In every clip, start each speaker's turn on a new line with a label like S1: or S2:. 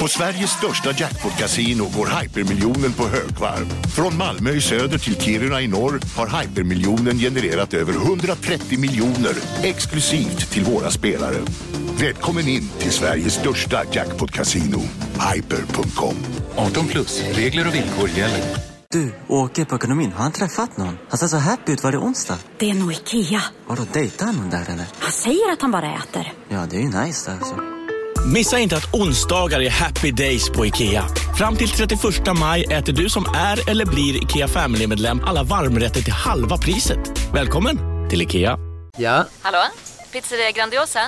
S1: På Sveriges största jackpot-kasino går hypermiljonen på högvarv. Från Malmö i söder till Kiruna i norr har hypermiljonen genererat över 130 miljoner exklusivt till våra spelare. Välkommen in till Sveriges största jackpot-kasino, hyper.com.
S2: 18 plus, regler och villkor gäller.
S3: Du, åker på ekonomin. Har han träffat någon? Han ser så happy ut. Var det onsdag?
S4: Det är nog Ikea.
S3: Har du dejtar han någon där eller?
S4: Han säger att han bara äter.
S3: Ja, det är ju nice alltså.
S5: Missa inte att onsdagar är happy days på IKEA. Fram till 31 maj äter du som är eller blir IKEA Family-medlem alla varmrätter till halva priset. Välkommen till IKEA.
S6: Ja,
S7: Hallå? Pizzeria Grandiosa?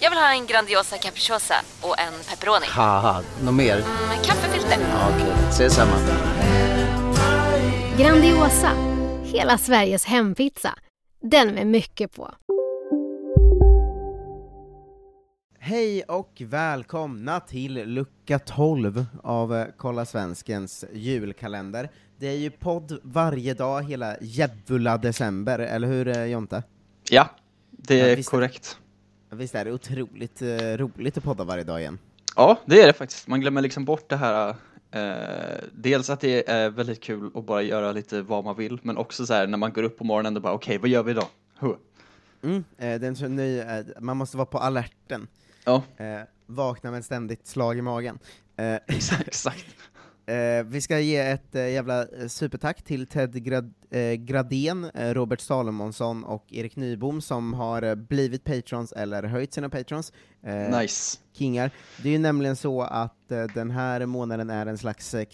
S7: Jag vill ha en Grandiosa capriciosa och en pepperoni.
S6: haha, något mer?
S7: Med kaffefilter.
S6: Ja, Okej, ses samma.
S8: Grandiosa, hela Sveriges hempizza. Den med mycket på.
S9: Hej och välkomna till lucka 12 av eh, Kolla Svenskens julkalender. Det är ju podd varje dag hela jävla december, eller hur eh, Jonte?
S10: Ja, det
S9: Ja,
S10: är
S9: visst.
S10: korrekt.
S9: Visst är det otroligt eh, roligt att podda varje dag igen?
S10: Ja, det är det faktiskt. Man glömmer liksom bort det här. Eh, dels att det är väldigt kul att bara göra lite vad man vill, men också så här när man går upp på morgonen och bara okej, vad gör vi idag? Huh.
S9: Mm. Eh, den så ny, eh, man måste vara på alerten.
S10: Ja,
S9: Eh, vakna med ett ständigt slag i magen. Eh,
S10: exakt. exakt.
S9: Eh, vi ska ge ett eh, jävla eh, supertack till Ted Grad eh, Gradén, eh, Robert Salomonsson och Erik Nybom som har eh, blivit patrons eller höjt sina patrons. Eh,
S10: Nice.
S9: Kingar. Det är ju nämligen så att eh, den här månaden är en slags eh,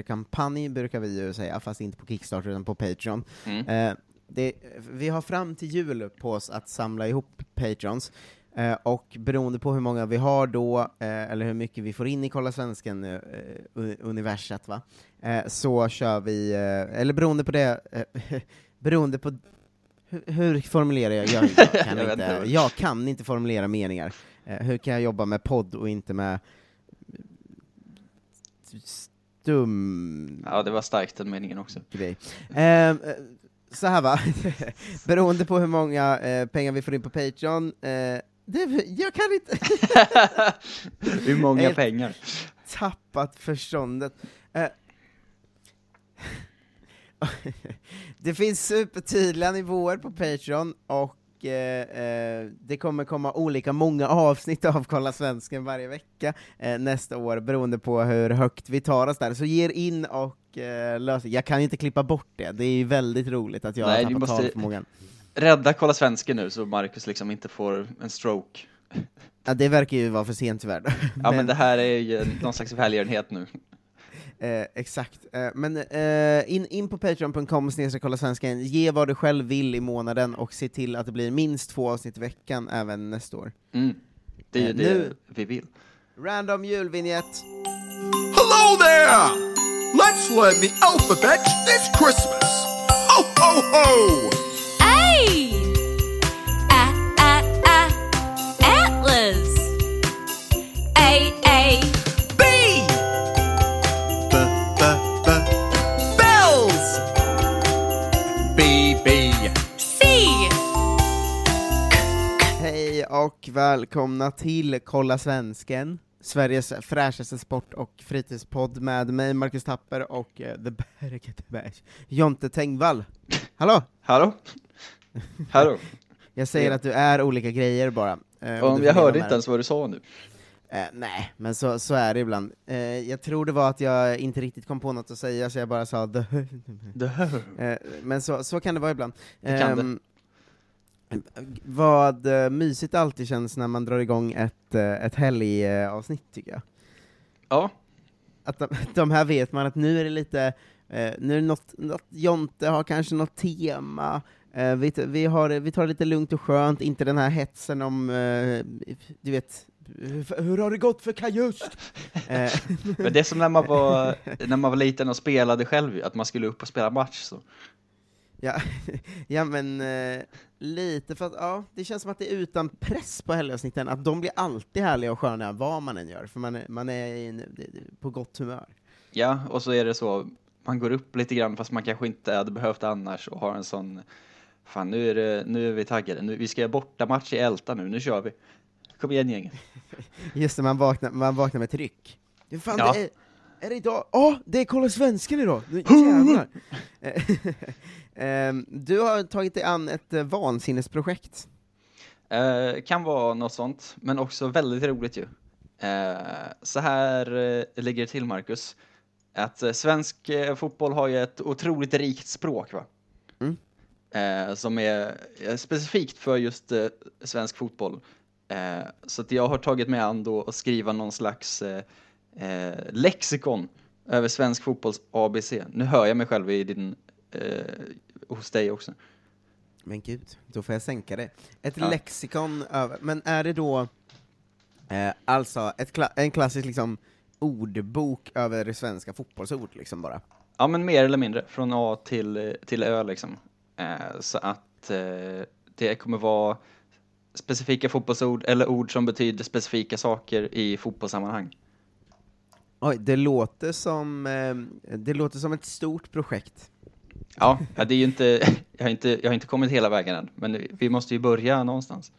S9: Kickstarter-kampanj, brukar vi ju säga, fast inte på Kickstarter utan på Patreon.
S10: Mm.
S9: Eh, det, vi har fram till jul på oss att samla ihop patrons, eh, och beroende på hur många vi har då, eh, eller hur mycket vi får in i Kolla Svensken-universet, va? Eh, så kör vi, eh, eller beroende på det, eh, beroende på hur, hur formulerar jag? Jag, jag, kan
S10: Jag vet
S9: inte,
S10: inte.
S9: jag kan inte formulera meningar. Eh, hur kan jag jobba med podd och inte med stum
S10: Ja, det var starkt den meningen också.
S9: grej. Ehm, Eh, så här va, beroende på hur många eh, pengar vi får in på Patreon, eh, det, jag kan inte,
S10: Hur många
S9: Helt-
S10: pengar?
S9: tappat förståndet. Eh, det finns supertydliga nivåer på Patreon, och eh, eh, det kommer komma olika många avsnitt av Kolla Svensken varje vecka eh, nästa år, beroende på hur högt vi tar oss där. Så ge er in och eh, lös Jag kan ju inte klippa bort det, det är ju väldigt roligt att jag
S10: Nej,
S9: har
S10: du
S9: tappat
S10: måste-
S9: talförmågan.
S10: Rädda Kolla Svensken nu så Marcus liksom inte får en stroke.
S9: Ja, det verkar ju vara för sent tyvärr.
S10: Ja, men, det här är ju en- någon slags välgörenhet nu.
S9: Eh, exakt. Eh, men eh, in, in på patreon.com snedstreck kolla svenskan, ge vad du själv vill i månaden och se till att det blir minst två avsnitt i veckan även nästa år.
S10: Mm. Det är ju
S9: Eh,
S10: det
S9: nu-
S10: vi vill.
S9: Random julvinjett!
S1: Hello there! Let's learn the alphabet this Christmas. Ho, ho, ho!
S7: Hey! Ä, ä, ä. Atlas. A, A.
S1: B! B, B, B. Bells! B, B.
S7: C.
S9: Hej och välkomna till Kolla Svensken, Sveriges fräschaste sport och fritidspodd med mig, Marcus Tapper och eh, The Bergeteberg, Jonte Tengvall. Hallå!
S10: Hallå? Hallå?
S9: Jag säger att du är olika grejer bara.
S10: Om
S9: Eh, och du får
S10: jag
S9: leva
S10: hörde
S9: med
S10: inte
S9: det.
S10: ens vad du sa nu.
S9: Eh, nej, men så, så är det ibland. Eh, jag tror det var att jag inte riktigt kom på något att säga, så jag bara sa dö. Eh, men så, så kan det vara ibland.
S10: Det kan det.
S9: Ehm, Vad eh, mysigt det alltid känns när man drar igång ett, eh, ett helgavsnitt, tycker jag.
S10: Ja,
S9: Att de, de här vet man att nu är det lite, eh, nu är det något, något, Jonte har kanske något tema, eh, vi, t- vi, har, vi tar det lite lugnt och skönt, inte den här hetsen om, eh, du vet, hur, hur har det gått för Kajust? eh,
S10: Men det är som när man var, när man var liten och spelade själv ju, att man skulle upp och spela match så.
S9: Ja, ja men eh, lite, för att ja, det känns som att det är utan press på helgavsnitten, att de blir alltid härliga och sköna vad man än gör, för man, är- man är i en, på gott humör.
S10: Ja, och så är det så, man går upp lite grann fast man kanske inte hade behövt annars och har en sån, fan nu är, det, nu är vi taggade, nu, vi ska göra bortamatch i Älta nu, nu kör vi. Kom igen gänget.
S9: Just det, man vaknar, man vaknar med tryck. Du, fan,
S10: Ja.
S9: det är, är det idag? Ja, det är Kolla Svensken idag! Nu jävlar! Ehm, du har tagit dig an ett eh, vansinnesprojekt.
S10: Eh, kan vara något sånt, men också väldigt roligt ju. Eh, så här eh, ligger det till, Marcus. Att eh, svensk eh, fotboll har ju ett otroligt rikt språk, va?
S9: Mm.
S10: Eh, som är eh, specifikt för just eh, svensk fotboll. Eh, så att jag har tagit mig an då att skriva någon slags eh, eh, lexikon över svensk fotbolls ABC. Nu hör jag mig själv i din, eh, hos dig också.
S9: Men gud, då får jag sänka det. Ett
S10: Ja.
S9: lexikon över, men är det då eh, alltså ett kla- en klassisk liksom ordbok över svenska fotbollsord liksom bara?
S10: Ja, men mer eller mindre. Från A till, till Ö liksom. Eh, så att eh, det kommer vara specifika fotbollsord eller ord som betyder specifika saker i fotbollssammanhang.
S9: Oj, det låter som, eh, det låter som ett stort projekt.
S10: Ja, ja, det är ju inte, jag har inte, jag har inte kommit hela vägen än, men vi måste ju börja någonstans.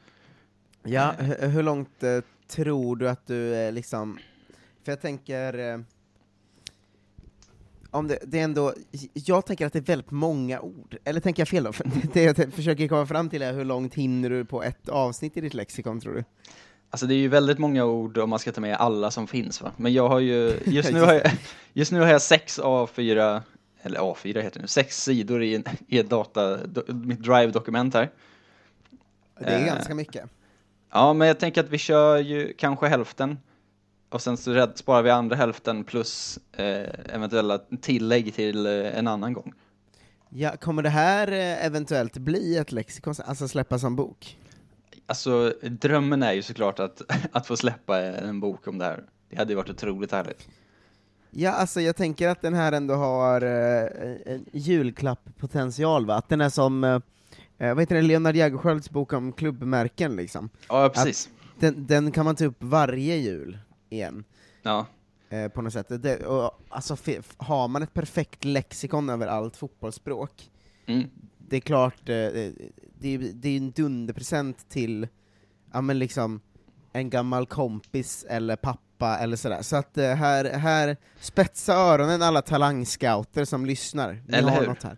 S9: Ja, hur, hur långt eh, tror du att du eh, liksom, för jag tänker, eh, om det, det är ändå, jag tänker att det är väldigt många ord, eller tänker jag fel då? För Det jag t- försöker komma fram till är hur långt hinner du på ett avsnitt i ditt lexikon tror du?
S10: Alltså det är ju väldigt många ord om man ska ta med alla som finns va. Men jag har ju, just nu har jag, just nu har jag sex A4, eller A4 heter det nu, sex sidor i, en- i ett data, do, mitt drive-dokument här.
S9: Det är
S10: Eh.
S9: ganska mycket.
S10: Ja, men jag tänker att vi kör ju kanske hälften och sen så rädd- sparar vi andra hälften plus eh, eventuella tillägg till eh, en annan gång.
S9: Ja, kommer det här eh, eventuellt bli ett lexikon, alltså släppas som bok?
S10: Alltså, drömmen är ju såklart att, att få släppa en bok om det här. Det hade ju varit otroligt härligt.
S9: Ja, alltså jag tänker att den här ändå har eh, en julklapppotential va? Att den är som, eh, eh, vad heter det, Leonard Jägerskiölds bok om klubbmärken liksom.
S10: Ja, precis.
S9: Den, den kan man ta upp varje jul igen,
S10: Ja.
S9: eh, på något sätt. Det, och, alltså fe- har man ett perfekt lexikon över allt fotbollsspråk,
S10: Mm.
S9: det är klart, eh, det, det, är- det är ju en dunderpresent till, ja men liksom, en gammal kompis eller pappa eller sådär. Så att eh, här, här, spetsa öronen alla talangscouter som lyssnar. Ni
S10: Eller
S9: har
S10: hur?
S9: något här.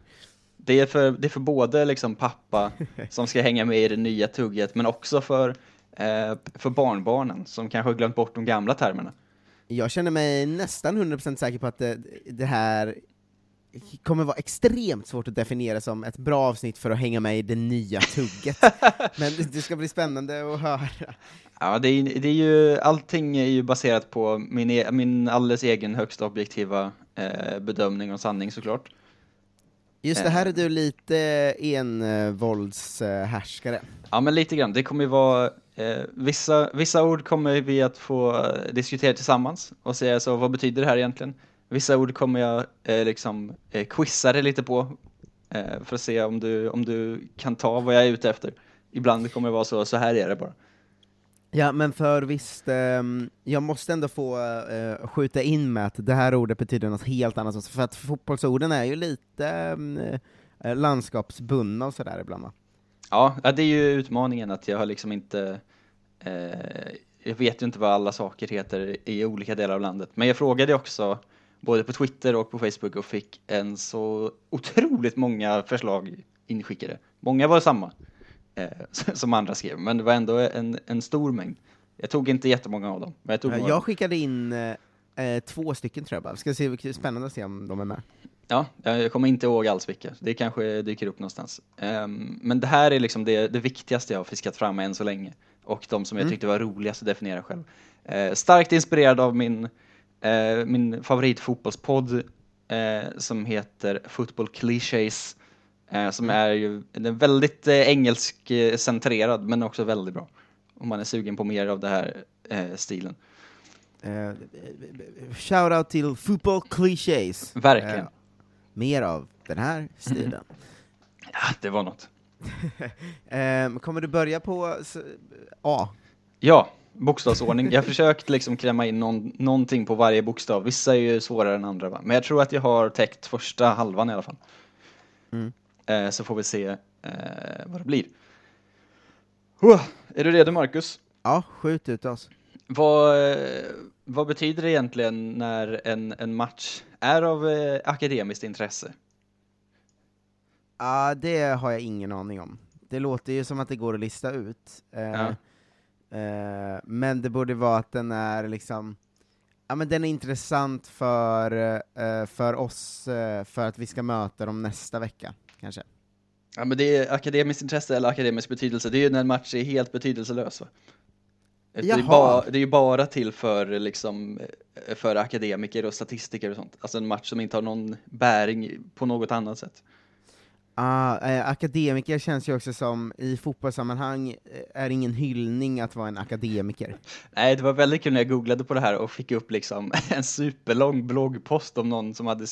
S10: Det är för, det är för både liksom pappa som ska hänga med i det nya tugget, men också för, eh, för barnbarnen som kanske har glömt bort de gamla termerna.
S9: Jag känner mig nästan 100% säker på att det, det här kommer vara extremt svårt att definiera som ett bra avsnitt för att hänga med i det nya tugget. Men det- det ska bli spännande att höra.
S10: Ja, det är, det är ju, allting är ju baserat på min, e, min alldeles egen högsta objektiva eh, bedömning och sanning såklart. Eh.
S9: Just det, här är du lite envåldshärskare.
S10: Ja, men lite grann. Det kommer ju vara, eh, vissa, vissa ord kommer vi att få eh, diskutera tillsammans och säga så, vad betyder det här egentligen? Vissa ord kommer jag eh, liksom eh, quizza dig lite på eh, för att se om du, om du kan ta vad jag är ute efter. Ibland kommer det vara så, så här är det bara.
S9: Ja, men för visst, ehm, jag måste ändå få eh, skjuta in med att det här ordet betyder något helt annat, också, för att fotbollsorden är ju lite ehm, eh, landskapsbundna och sådär ibland va?
S10: Ja, ja, det är ju utmaningen att jag har liksom inte... Eh, jag vet ju inte vad alla saker heter i olika delar av landet. Men jag frågade också både på Twitter och på Facebook och fick en så otroligt många förslag inskickade. Många var samma eh, som andra skrev, men det var ändå en, en stor mängd. Jag tog inte jättemånga av dem, men jag tog några.
S9: Jag skickade in eh, eh, två stycken tror jag bara, ska se, spännande att se om de är med.
S10: Ja, jag kommer inte ihåg alls vilka. Det kanske dyker upp någonstans. Ehm, men det här är liksom det, det viktigaste jag har fiskat fram än så länge. Och de som jag tyckte var roligast att definiera själv. Eh, starkt inspirerad av min, eh, min favoritfotbollspodd eh, som heter Football Clichés. Eh, som är ju den är väldigt eh, engelskcentrerad men också väldigt bra. Om man är sugen på mer av den här eh, stilen.
S9: Eh, Shoutout till Football Clichés!
S10: Verkligen.
S9: Eh, mer av den här stilen.
S10: Ja, det var något.
S9: Ehm, kommer du börja på s- A?
S10: Ja, bokstavsordning. Jag har försökt liksom klämma in någon, någonting på varje bokstav. Vissa är ju svårare än andra, va? men jag tror att jag har täckt första halvan i alla fall. Eh, så får vi se eh, vad det blir. Huh, är du redo, Marcus?
S9: Ja, skjut ut oss.
S10: Vad, eh, vad betyder det egentligen när en, en match är av eh, akademiskt intresse?
S9: Ja, det har jag ingen aning om. Det låter ju som att det går att lista ut. Eh,
S10: Ja.
S9: eh, men det borde vara att den är liksom, ja men den är intressant för, eh, för oss, eh, för att vi ska möta dem nästa vecka, kanske.
S10: Ja, men det är akademiskt intresse eller akademisk betydelse, det är ju när en match är helt betydelselös. Va? Det, är ju
S9: Jaha.
S10: bara, det är ju bara till för, liksom, eh, för akademiker och statistiker och sånt. Alltså en match som inte har någon bäring på något annat sätt.
S9: Ah, eh, akademiker känns ju också som, i fotbollssammanhang, eh, är ingen hyllning att vara en akademiker.
S10: Nej, det var väldigt kul när jag googlade på det här och fick upp liksom en superlång bloggpost om någon som hade,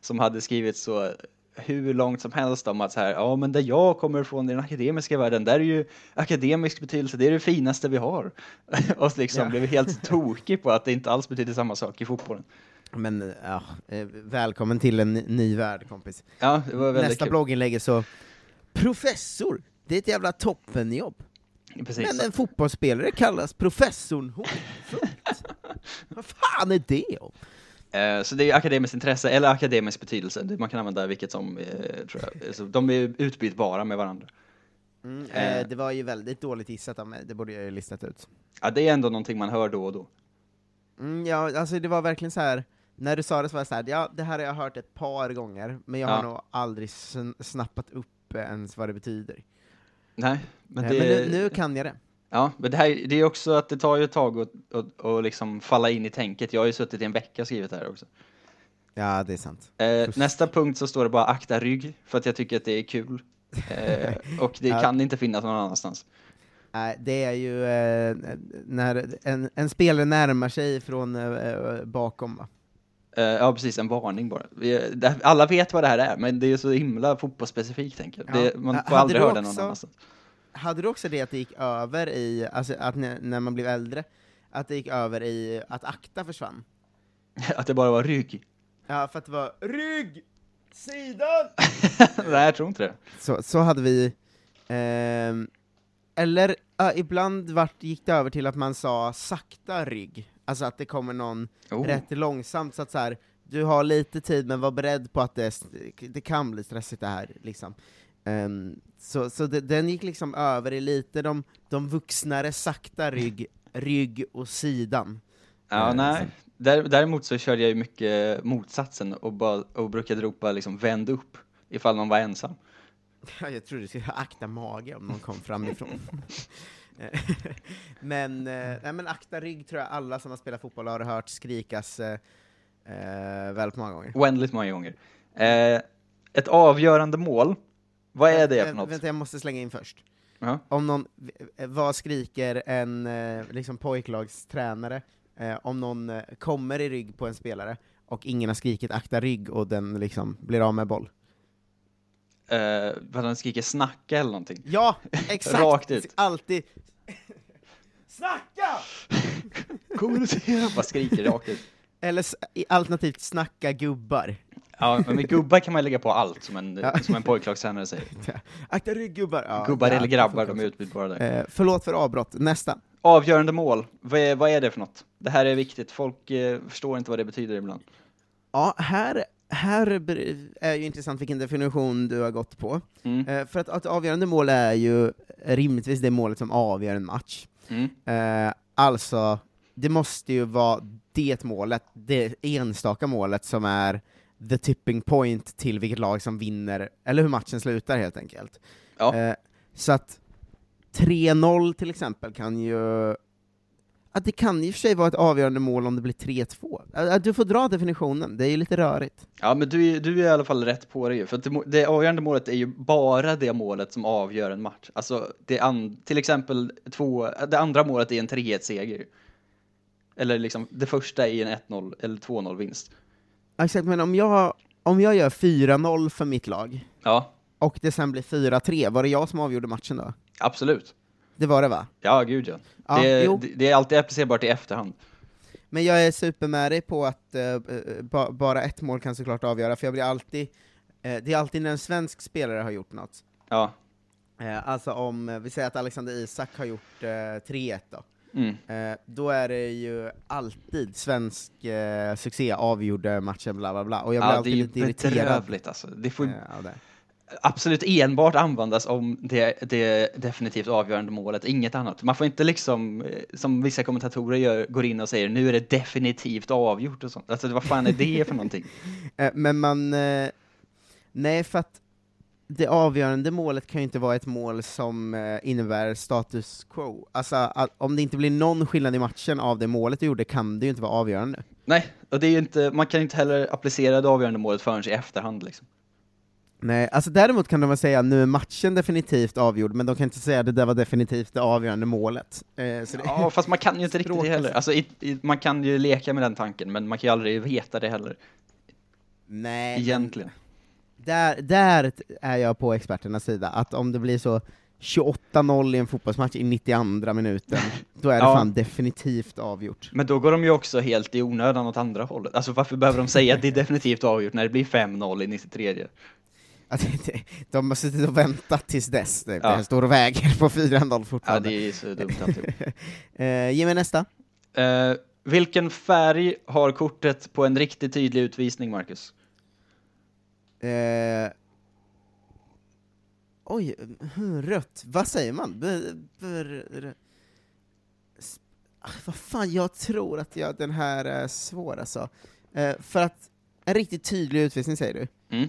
S10: som hade skrivit så hur långt som helst om att så här, ja men där jag kommer ifrån i den akademiska världen, där är ju akademisk betydelse, det är det finaste vi har. Och liksom
S9: Ja.
S10: blev helt tokig på att det inte alls betyder samma sak i fotbollen.
S9: Men eh, ja, eh, välkommen till en ny- ny värld kompis.
S10: Ja, det var väldigt
S9: Nästa
S10: kul.
S9: blogginlägg är så, professor, det är ett jävla toppenjobb.
S10: Precis.
S9: Men en fotbollsspelare kallas professorn Hornfult. Vad fan är det om?
S10: Eh, Så det är ju akademiskt intresse eller akademisk betydelse, Det- man kan använda vilket som, eh, tror jag. Så de är ju utbytbara med varandra. Eh.
S9: Eh, det var ju väldigt dåligt gissat av mig, det borde jag ju listat ut.
S10: Ja, det är ändå någonting man hör då och då.
S9: Mm, ja, alltså det var verkligen så här. när du sa det så var jag så här, ja det här har jag hört ett par gånger, men jag har
S10: Ja.
S9: nog aldrig sn- snappat upp ens vad det betyder.
S10: Nej, men
S9: Eh,
S10: det...
S9: Men nu, nu kan jag det.
S10: Ja, men det, här, det är också att det tar ju ett tag att, att, att liksom falla in i tänket. Jag har ju suttit i en vecka och skrivit det här också.
S9: Ja, det är sant.
S10: Eh, nästa punkt så står det bara akta rygg, för att jag tycker att det är kul. Eh, och det
S9: Ja.
S10: kan inte finnas någon annanstans.
S9: Nej, det är ju eh, när en, en spelare närmar sig från eh, bakom va?
S10: Eh, ja, precis, en varning bara. Vi- det- Alla vet vad det här är, men det är så himla fotbollsspecifikt, tänker jag.
S9: Ja.
S10: Det, man
S9: Ha-
S10: får
S9: hade
S10: aldrig
S9: du
S10: höra det någon
S9: också-
S10: annanstans.
S9: Hade du också det att det gick över i, alltså att när, när man blev äldre, att det gick över i att akta försvann?
S10: att det bara var rygg.
S9: Ja, för att det var rygg, sidan!
S10: Nej, jag tror inte det.
S9: Så, så hade vi, ehm, eller ja, ibland vart, gick det över till att man sa sakta rygg, alltså att det kommer någon
S10: Oh.
S9: rätt långsamt, så att så här, du har lite tid men var beredd på att det, det kan bli stressigt det här. Liksom. Ehm, så så det, den gick liksom över i lite de, de vuxnare sakta rygg, rygg och sidan.
S10: Ja,
S9: Eh,
S10: nej.
S9: så-
S10: Där- Däremot så körde jag ju mycket motsatsen och, bara, och brukade ropa liksom vänd upp ifall någon var ensam.
S9: Ja, Jag trodde du skulle akta mage om någon kom framifrån. Eh, men, eh, nej, men akta rygg tror jag alla som har spelat fotboll har hört skrikas eh, eh, väldigt många gånger.
S10: Oändligt många gånger. Eh, ett avgörande mål. Vad är det
S9: Vä-
S10: för något?
S9: Vänta, jag måste slänga in först.
S10: Ja.
S9: om någon, eh, vad skriker en eh, liksom pojklagstränare eh, om någon eh, kommer i rygg på en spelare och ingen har skrikit akta rygg och den liksom blir av med boll?
S10: Eh, vad han skriker snacka eller någonting.
S9: Ja, exakt!
S10: Rakt ut.
S9: Alltid! Snacka!
S10: Kommunicera! vad skriker rakt ut.
S9: Eller s- i- alternativt snacka gubbar.
S10: Ja, men med gubbar kan man ju lägga på allt som en,
S9: Ja.
S10: som en pojklagstränare säger.
S9: Akta rygg gubbar! Ja,
S10: Mm. gubbar
S9: ja,
S10: eller
S9: det
S10: grabbar, de
S9: funkar
S10: är utbytbara där.
S9: också. Eh, förlåt för avbrott, nästa.
S10: Avgörande mål. Vad är, vad är det för något? Det här är viktigt. Folk eh, förstår inte vad det betyder ibland.
S9: Ja, här, här ber- är ju intressant vilken definition du har gått på.
S10: Mm.
S9: Eh, för att, att avgörande mål är ju rimligtvis det målet som avgör en match.
S10: Mm.
S9: Eh, alltså, det måste ju vara det målet, det enstaka målet som är the tipping point till vilket lag som vinner, eller hur matchen slutar helt enkelt.
S10: Ja.
S9: Eh, så att 3-0 till exempel kan ju... Ja, det kan i och för sig vara ett avgörande mål om det blir 3-2. Ja, Du får dra definitionen, det är ju lite rörigt.
S10: Ja, men du, är- du är i alla fall rätt på det ju. För att det, må- det avgörande målet är ju bara det målet som avgör en match. Alltså, det an, till exempel två, det andra målet är en 3-1-seger. Eller liksom, det första är en 1-0 eller 2-0-vinst.
S9: Ja, Exakt, men om jag, om jag gör 4-0 för mitt lag,
S10: Ja,
S9: och det sen blir 4-3, var det jag som avgjorde matchen då?
S10: absolut.
S9: Det var det va?
S10: Ja, gud ja.
S9: Ja,
S10: det,
S9: jo.
S10: det, det är alltid applicerbart i efterhand.
S9: Men jag är super med dig på att eh, eh, ba bara ett mål kan såklart avgöra, för jag blir alltid, eh, det är alltid när en svensk spelare har gjort något.
S10: Ja,
S9: Eh, alltså om, eh, vi säger att Alexander Isak har gjort eh, 3-1 då.
S10: Mm.
S9: Eh, då är det ju alltid svensk eh, succé avgjorde matchen bla bla bla. Och jag blir
S10: Ja, det är
S9: alltid
S10: ju
S9: lite irriterad.
S10: bedrövligt alltså. Det får ju
S9: eh, av det.
S10: absolut enbart användas om det, det definitivt avgörande målet, inget annat. Man får inte liksom, eh, som vissa kommentatorer gör, går in och säger nu är det definitivt avgjort och sånt. Alltså vad fan är det för någonting?
S9: Eh, Men man... eh, Nej, för att det avgörande målet kan ju inte vara ett mål som eh, innebär status quo. Alltså, att om det inte blir någon skillnad i matchen av det målet du gjorde kan det ju inte vara avgörande.
S10: Nej, och det är ju inte, man kan ju inte heller applicera det avgörande målet förrän i efterhand liksom.
S9: Nej, alltså däremot kan de väl säga nu är matchen definitivt avgjord, men de kan inte säga det där var definitivt det avgörande målet. Eh, så det,
S10: Ja, fast man kan ju inte riktigt det heller. Alltså, i, i, man kan ju leka med den tanken, men man kan ju aldrig veta det heller,
S9: nej,
S10: egentligen.
S9: Där, där är jag på experternas sida, att om det blir så 28-0 i en fotbollsmatch i 92 minuten, då är det
S10: Ja.
S9: fan definitivt avgjort.
S10: Men då går de ju också helt i onödan åt andra hållet. Alltså varför behöver de säga att det är definitivt avgjort när det blir 5-0 i 93?
S9: Att det- det- de har suttit och väntat tills dess, det
S10: Ja.
S9: ja. står och väger på 4-0
S10: Ja,
S9: fortfarande.
S10: det är så dumt alltihop.
S9: eh, ge mig nästa.
S10: Eh, vilken färg har kortet på en riktigt tydlig utvisning, Marcus?
S9: Eh, oj, hmm, rött. Vad säger man? B br- r- s- ah, vad fan, jag tror att jag, den här är svår alltså. Eh, för att, en riktigt tydlig utvisning säger du?
S10: Mm.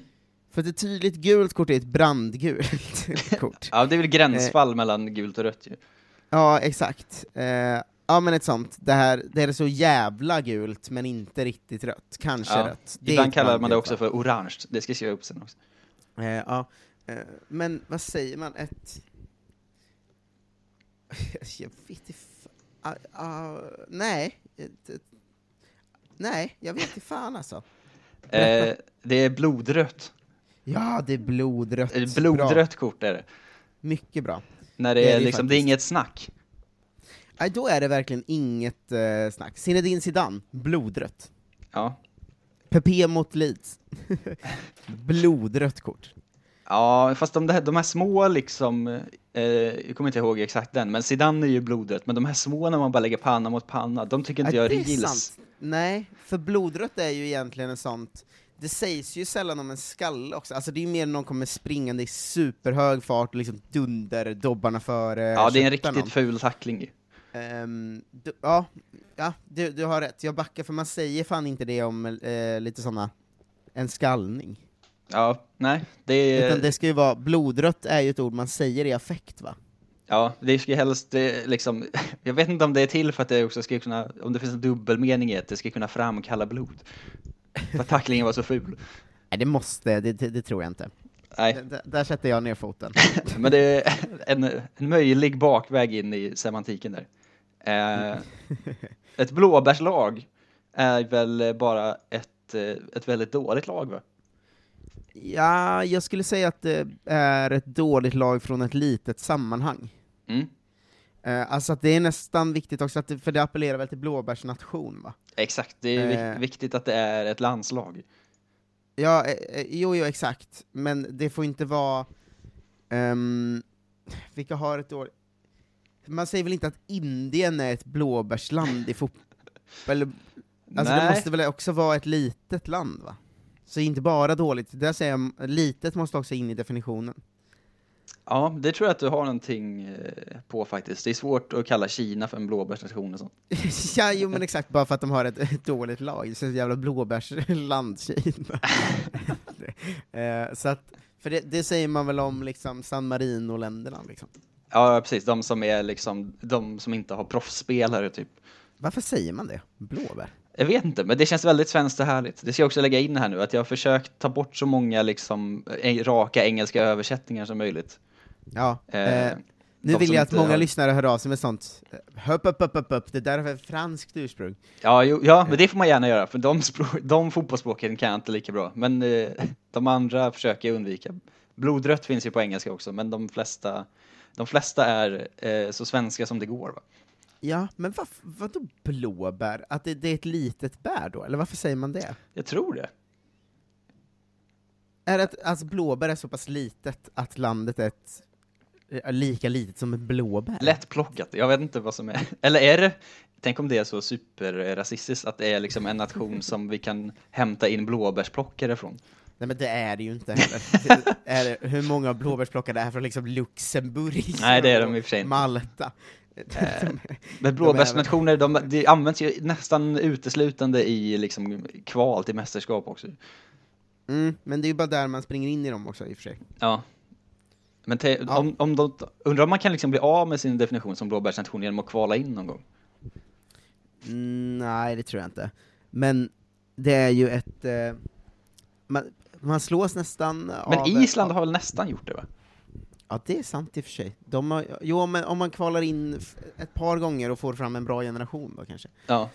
S9: För att ett tydligt gult kort är ett brandgult kort.
S10: Ja, det är väl gränsfall
S9: Eh,
S10: mellan gult och rött ju.
S9: Ja, exakt. Eh, ja men ett sånt, det här, det här är så jävla gult men inte riktigt rött, kanske
S10: Ja.
S9: rött. Det är
S10: Ibland
S9: ett
S10: kallar man det
S9: brandgult,
S10: också
S9: va?
S10: för orange. Det ska jag skriva upp sen också.
S9: Eh, ja. Eh, men vad säger man? Ett... jag vet inte... fa- Ah, ah, nej. Ett- ett- Nej, jag vet inte fan alltså.
S10: Eh, det är blodrött.
S9: Ja, det är blodrött.
S10: Eh,
S9: Bra.
S10: Blodrött kort är det.
S9: Mycket bra.
S10: När det,
S9: Det är
S10: är,
S9: det ju
S10: liksom, det är
S9: faktiskt.
S10: inget snack.
S9: Nej, då är det verkligen inget eh, snack. Zinedine Zidane, blodrött.
S10: Ja.
S9: Pepe mot Leeds. blodrött kort.
S10: Ja, fast de, där- de här små liksom, eh, jag kommer inte ihåg exakt den, men Zidane är ju blodrött, men de här små när man bara lägger panna mot panna, de tycker inte
S9: Ja,
S10: jag
S9: det är
S10: gills.
S9: sant. Nej, för blodrött är ju egentligen en sånt, det sägs ju sällan om en skalle också, alltså det är ju mer när någon kommer springande i superhög fart och liksom dunder dobbarna före.
S10: Ja, det är en
S9: köttar
S10: riktigt ful tackling ju.
S9: Ehm, du, ja, ja du, du har rätt, jag backar för man säger fan inte det om eh, lite såna en skallning.
S10: Ja, nej, det är...
S9: Utan det ska ju vara, blodrött är ju ett ord man säger i affekt va?
S10: Ja, det ska ju helst eh, liksom, jag vet inte om det är till för att det också ska kunna, om det finns en dubbelmening i att det ska kunna framkalla blod. För att tacklingen var så ful.
S9: Nej det måste, det, det, det tror jag inte.
S10: Nej,
S9: D- d- där sätter jag ner foten.
S10: men det är en, en möjlig bakväg in i semantiken där. Eh, ett blåbärslag är väl bara ett, eh, ett väldigt dåligt lag va?
S9: Ja, jag skulle säga att det är ett dåligt lag från ett litet sammanhang.
S10: Mm,
S9: Eh, alltså att det är nästan viktigt också, att det, för det appellerar väl till blåbärsnation va?
S10: exakt, det är vik-
S9: Eh.
S10: viktigt att det är ett landslag.
S9: Ja, eh, eh, jo, jo exakt, men det får inte vara... ehm, vilka har ett dåligt... Man säger väl inte att Indien är ett blåbärsland i fotboll? Eller- Alltså det måste väl också vara ett litet land va? Så inte bara dåligt, där säger jag, litet måste också in i definitionen.
S10: Ja, det tror jag att du har någonting eh, på faktiskt. Det är svårt att kalla Kina för en blåbärsnation och sånt.
S9: Ja, jo men exakt, bara för att de har ett, ett dåligt lag. Det känns som jävla blåbärsland, Kina. Eh, så att, för det, det säger man väl om liksom San Marino-länderna liksom.
S10: Ja, precis. De som är liksom, de som inte har proffsspelare typ.
S9: Varför säger man det? Blåbär?
S10: Jag vet inte, men det känns väldigt svenskt och härligt. Det ska jag också lägga in här nu, att jag har försökt ta bort så många liksom eh, raka engelska översättningar som möjligt.
S9: Ja.
S10: Eh,
S9: Eh, nu
S10: de
S9: vill
S10: som
S9: jag att
S10: inte
S9: många
S10: har-
S9: lyssnare hör av sig med sånt. eh, Höpp, upp, upp, upp, upp. Det där har franskt ursprung.
S10: Ja, jo,
S9: Eh.
S10: ja, men det får man gärna göra, för de, språk, de fotbollsspråken kan jag inte lika bra. Men eh, de andra försöker jag undvika. Blodrött finns ju på engelska också, men de flesta, de flesta är eh, så svenska som det går. Va?
S9: Ja, men vad, vadå blåbär? Att det, det är ett litet bär då? Eller varför säger man det?
S10: Jag tror det.
S9: Är det att alltså, blåbär är så pass litet att landet är ett eh, lika litet som ett blåbär.
S10: Lättplockat, jag vet inte vad som är. Eller är det, tänk om det är så superrasistiskt att det är liksom en nation som vi kan hämta in blåbärsplockare från.
S9: Nej men det är det ju inte heller. Det är, hur många blåbärsplockare är från liksom Luxemburg?
S10: Nej, det är de i och för sig inte. Eh.
S9: Malta. De-
S10: Men blåbärsnationer, de, de används ju nästan uteslutande i liksom kval till mästerskap också.
S9: mm, men det är ju bara där man springer in i dem också i och för sig.
S10: Ja. Men te, om, om de, undrar om man kan liksom bli av med sin definition som blåbärsnation genom att kvala in någon gång?
S9: Mm, nej, det tror jag inte. Men det är ju ett... Eh, man, man slås nästan
S10: Men
S9: av...
S10: Island har väl nästan gjort det va?
S9: Ja, det är sant i och för sig. De har, jo, men om man kvalar in f- ett par gånger och får fram en bra generation då kanske.
S10: Ja.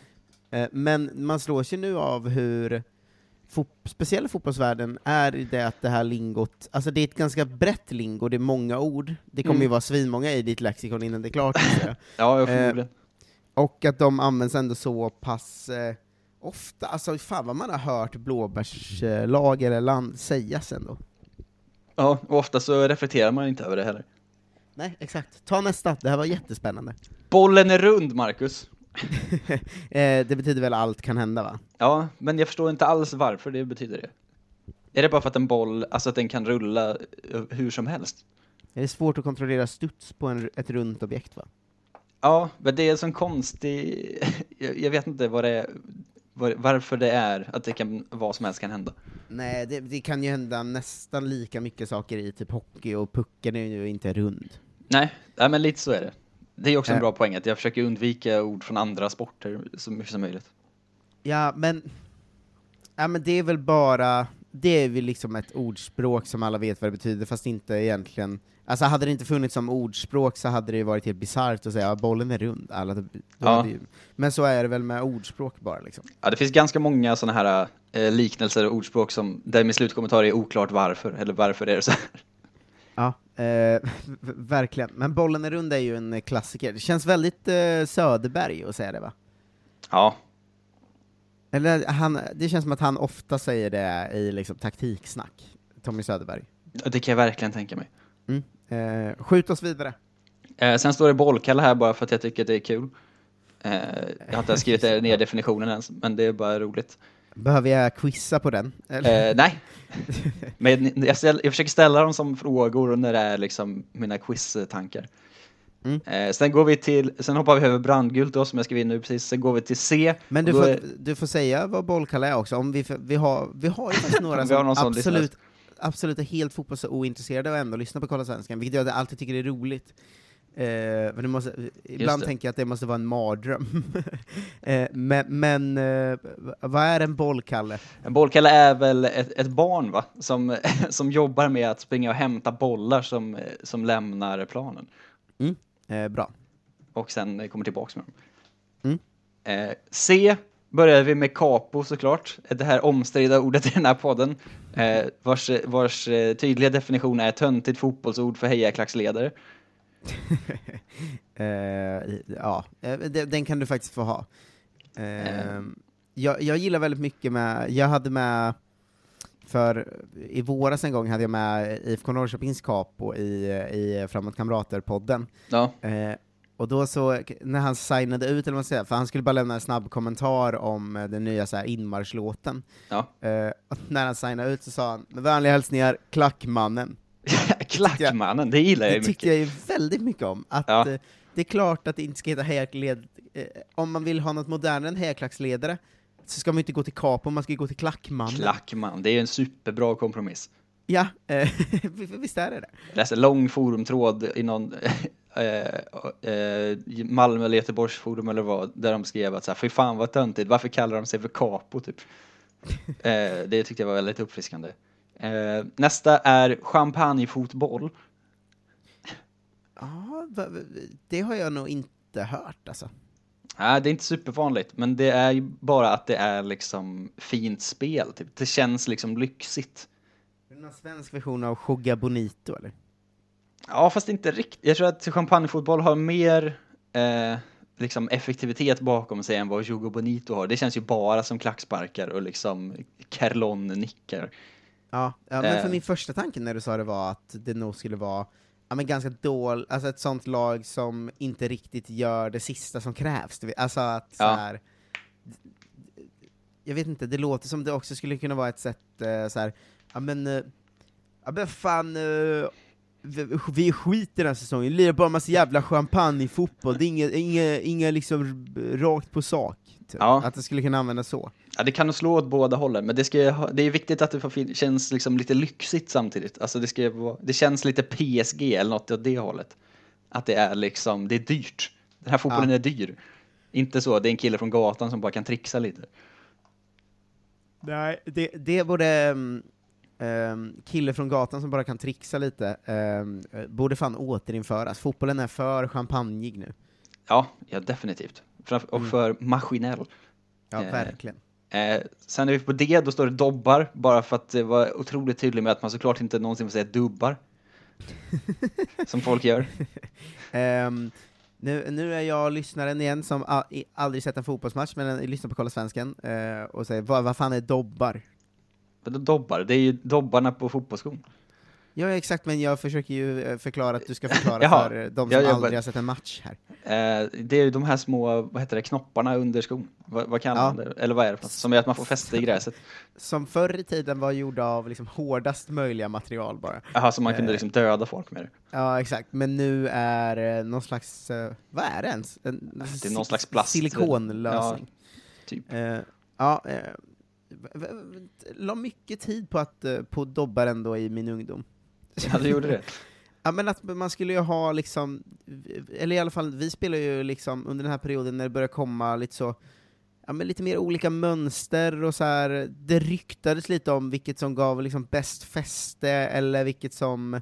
S9: Eh, Men man slås ju nu av hur fot- speciella fotbollsvärlden är i det att det här lingot, alltså det är ett ganska brett lingo, det är många ord, det kommer ju vara svinmånga i ditt lexikon innan det är klart, gissar jag.
S10: Ja, jag förmodligen.
S9: och att de används ändå så pass eh, ofta, alltså fan vad man har hört blåbärslag eller land sägas ändå.
S10: Ja, och ofta så reflekterar man inte över det heller.
S9: Nej, exakt. Ta nästa, det här var jättespännande.
S10: Bollen är rund, Marcus.
S9: Eh, det betyder väl allt kan hända va?
S10: Ja, men jag förstår inte alls varför det betyder det. Är det bara för att en boll, alltså att den kan rulla eh, hur som helst?
S9: Det är svårt att kontrollera studs på en, ett runt objekt va?
S10: Ja, men det är en sån konstig... Jag jag vet inte vad det är, var- varför det är att det kan, vad som helst kan hända.
S9: Nej, det, det kan ju hända nästan lika mycket saker i typ hockey, och pucken är ju inte rund.
S10: Nej, nej men lite så är det. Det är också en
S9: Eh.
S10: bra poäng att jag försöker undvika ord från andra sporter så mycket som möjligt.
S9: Ja, men... Ja, men det är väl bara... Det är väl liksom ett ordspråk som alla vet vad det betyder, fast inte egentligen... Alltså hade det inte funnits som ordspråk så hade det ju varit helt bisarrt att säga ja, bollen är rund. Alla, då
S10: Ja.
S9: hade ju, men så är det väl med ordspråk bara liksom.
S10: Ja, det finns ganska många sådana här eh, liknelser och ordspråk som, där min slutkommentar är oklart varför, eller varför är det så här?
S9: Ja, eh, v- verkligen. Men bollen är rund är ju en klassiker. Det känns väldigt eh, Söderberg att säga det va?
S10: Ja,
S9: Eller han, det känns som att han ofta säger det i liksom taktiksnack, Tommy Söderberg.
S10: det kan jag verkligen tänka mig.
S9: Mm. Eh, skjut oss vidare.
S10: Eh, sen står det bollkalle här bara för att jag tycker att det är kul. Eh, jag har inte ens skrivit ner definitionen ens, men det är bara roligt.
S9: Behöver jag quizza på den? Eller?
S10: Eh, nej, men jag, ställ, jag försöker ställa dem som frågor när det är liksom mina quiz-tankar.
S9: Mm.
S10: Eh, sen går vi till, sen hoppar vi över brandgult då som jag skrev in nu precis, sen går vi till C.
S9: Men
S10: och
S9: du
S10: då
S9: får,
S10: är-
S9: du får säga vad bollkalle är också, om vi, för, vi, har, vi har ju faktiskt några
S10: Om vi
S9: som
S10: har någon som
S9: absolut, absolut är helt fotbollsointresserade och ändå lyssnar på Kolla Svenskan, vilket jag alltid tycker är roligt. Eh, men det måste, ibland
S10: det.
S9: tänker jag att det måste vara en mardröm. eh, men men eh, v- vad är en bollkalle?
S10: En bollkalle är väl ett, ett barn va? Som, som jobbar med att springa och hämta bollar som, eh, som lämnar planen
S9: Mm. Eh, bra.
S10: och sen eh, kommer tillbaks med dem.
S9: Mm.
S10: Eh, C börjar vi med capo såklart, Eh, det här omstridda ordet i den här podden, eh, vars, vars eh, tydliga definition är töntigt fotbollsord för hejaklacksledare.
S9: Eh, i- ja, Eh, de- den kan du faktiskt få ha. Eh, jag, jag gillar väldigt mycket med, jag hade med, för i våras en gång hade jag med IFK Norrköpings Capo i, i Framåt Kamrater-podden,
S10: Ja,
S9: eh, och då så, när han signade ut, eller vad man säger, för han skulle bara lämna en snabb kommentar om eh, den nya så här, inmarschlåten,
S10: ja.
S9: eh, och när han signade ut så sa han ”Med vänliga hälsningar, Klackmannen”.
S10: Klackmannen, det gillar jag ju
S9: Det
S10: mycket.
S9: tyckte jag ju väldigt mycket om, att
S10: Ja.
S9: eh, det är klart att det inte ska heta hejarkled... Eh, om man vill ha något modernare än hejarklacksledare så ska man ju inte gå till Capo, man ska ju gå till Klackmannen.
S10: Klackman, det är ju en superbra kompromiss.
S9: Ja, eh, visst är det det?
S10: Jag läste en lång forumtråd i någon eh, eh, Malmö eller Göteborgs forum eller vad, där de skrev att så här, fy fan vad töntigt, varför kallar de sig för Capo typ? eh, det tyckte jag var väldigt uppfriskande. Eh, nästa är champagnefotboll.
S9: Ja, va- va- det har jag nog inte hört alltså.
S10: Nej, det är inte supervanligt, men det är ju bara att det är liksom fint spel, typ. det känns liksom lyxigt.
S9: Är det någon svensk version av Jogga Bonito eller?
S10: Ja, fast inte riktigt. Jag tror att champagnefotboll har mer eh, liksom effektivitet bakom sig än vad Jogo Bonito har. Det känns ju bara som klacksparkar och liksom Kerlon-nickar.
S9: Ja, ja men för
S10: Eh.
S9: min första tanke när du sa det var att det nog skulle vara ja, men ganska dålig, alltså ett sånt lag som inte riktigt gör det sista som krävs. Du vet. Alltså att så
S10: Ja.
S9: här, jag vet inte, det låter som det också skulle kunna vara ett sätt eh, så här, ja men, eh, ja men fan, eh, vi- vi skiter i den här säsongen, lirar bara massa jävla champagnefotboll, det är inga, inga, inga liksom r- rakt på sak. Typ.
S10: Ja.
S9: Att det skulle kunna användas så.
S10: Ja, det kan nog slå åt båda hållen, men det, ska, ju ha- det är viktigt att det får fin- känns liksom lite lyxigt samtidigt. Alltså det, ska, ju vara- det känns lite PSG eller något åt det hållet. Att det är liksom, det är dyrt. Den här fotbollen
S9: Ja.
S10: är dyr. Inte så, det är en kille från gatan som bara kan trixa lite.
S9: Nej, det, det borde ehm, ehm, kille från gatan som bara kan trixa lite, ehm, eh, borde fan återinföras. Fotbollen är för champagneig nu.
S10: Ja, ja definitivt. Framf- och för maskinell.
S9: Ja,
S10: Eh,
S9: verkligen.
S10: Eh, sen är vi på D, då står det dobbar, bara för att det var otroligt tydligt med att man såklart inte någonsin får säga dubbar. som folk gör.
S9: Ehm, nu, nu är jag lyssnaren igen som a- i- aldrig sett en fotbollsmatch, men eh, lyssnar på Kolla Svensken, eh, och säger vad, vad fan är dobbar?
S10: Vadå dobbar? Det är ju dobbarna på fotbollsskon.
S9: Ja, exakt, men jag försöker ju eh, förklara att du ska förklara
S10: Jaha.
S9: för eh, de som
S10: Ja, jag bara-
S9: aldrig har sett en match här.
S10: Eh, det är ju de här små, vad heter det, knopparna under skon. Vad- vad kallar
S9: Ja.
S10: man det? Eller vad är det för något? Som gör att man får fäste i gräset.
S9: Som förr i tiden var gjorda av liksom hårdast möjliga material bara.
S10: Jaha, så man
S9: Eh.
S10: kunde liksom döda folk med det.
S9: Ja, exakt. Men nu är eh, någon slags, eh, vad är det ens? En,
S10: Det är någon slags plast.
S9: Silikonlösning.
S10: Ja, typ.
S9: Eh, Ja, eh, v- v- v- la mycket tid på att, eh, på dobbar ändå i min ungdom.
S10: Ja, du gjorde det.
S9: Ja men att man skulle ju ha liksom, eller i alla fall, vi spelar ju liksom under den här perioden när det börjar komma lite så, ja men lite mer olika mönster och så här. det ryktades lite om vilket som gav liksom bäst fäste eller vilket som,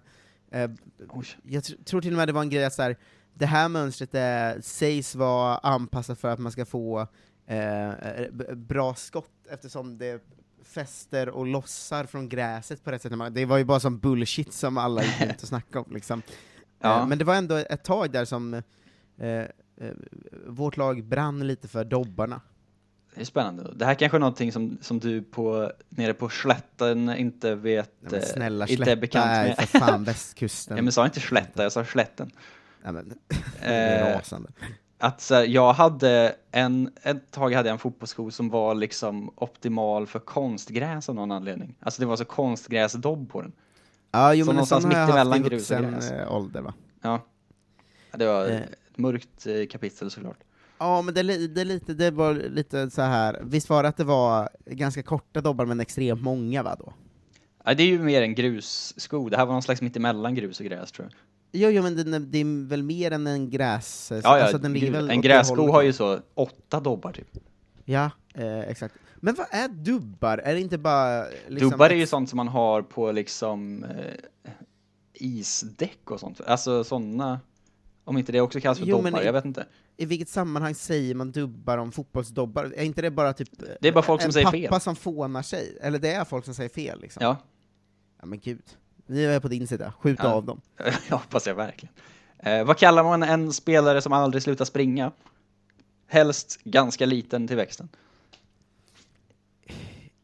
S9: eh,
S10: Oj.
S9: jag tr- tror till och med det var en grej att så här, det här mönstret är, sägs vara anpassat för att man ska få eh, b- bra skott eftersom det fäster och lossar från gräset på rätt sätt. Det var ju bara som bullshit som alla gick runt och snackade om. Liksom.
S10: Ja.
S9: Eh, Men det var ändå ett tag där som eh, eh, vårt lag brann lite för dobbarna.
S10: Det är spännande. Det här kanske är någonting som, som du på, nere på slätten inte vet,
S9: Nej, men
S10: eh,
S9: snälla,
S10: inte är
S9: släppa
S10: bekant
S9: är ju
S10: med.
S9: för fan
S10: Ja,
S9: västkusten.
S10: men jag sa inte slätta, jag sa slätten.
S9: Nej, men, det är
S10: Eh,
S9: rasande.
S10: att så här, jag hade en, ett tag hade jag en fotbollssko som var liksom optimal för konstgräs av någon anledning. Alltså det var så konstgräsdobb på den.
S9: Ja, jo,
S10: som
S9: men
S10: någonstans
S9: sån har jag
S10: mitt
S9: haft i
S10: emellan grus och
S9: vuxen
S10: gräs.
S9: eh, ålder va?
S10: Ja. Ja, Det var
S9: Eh.
S10: ett mörkt eh, kapitel såklart.
S9: Ja, men det, är li- det, är lite, det var lite så här. visst var det att det var ganska korta dobbar men extremt många va då?
S10: Ja, det är ju mer en grussko. Det här var någon slags mittemellan grus och gräs tror jag.
S9: Jo, jo men det, det är väl mer än en gräs...
S10: Ja, ja,
S9: alltså, den ligger
S10: gud.
S9: väl åt
S10: en
S9: det
S10: grässko
S9: hållet.
S10: har ju så åtta dobbar typ.
S9: Ja, eh, exakt. Men vad är dubbar? Är det inte bara... Liksom,
S10: Dubbar är ju sånt som man har på liksom eh, isdäck och sånt. Alltså sådana, om inte det också kallas för
S9: Jo, men
S10: dobbar,
S9: i-
S10: jag vet inte.
S9: I vilket sammanhang säger man dubbar om fotbollsdobbar? Är inte det bara typ... eh,
S10: Det är bara folk som
S9: en
S10: säger
S9: pappa
S10: fel.
S9: som fånar sig? Eller det är folk som säger fel liksom?
S10: Ja,
S9: ja men gud. Nu är jag på din sida, skjut
S10: Ja.
S9: av dem.
S10: jag hoppas jag verkligen. Eh, vad kallar man en spelare som aldrig slutar springa? Helst ganska liten till växten.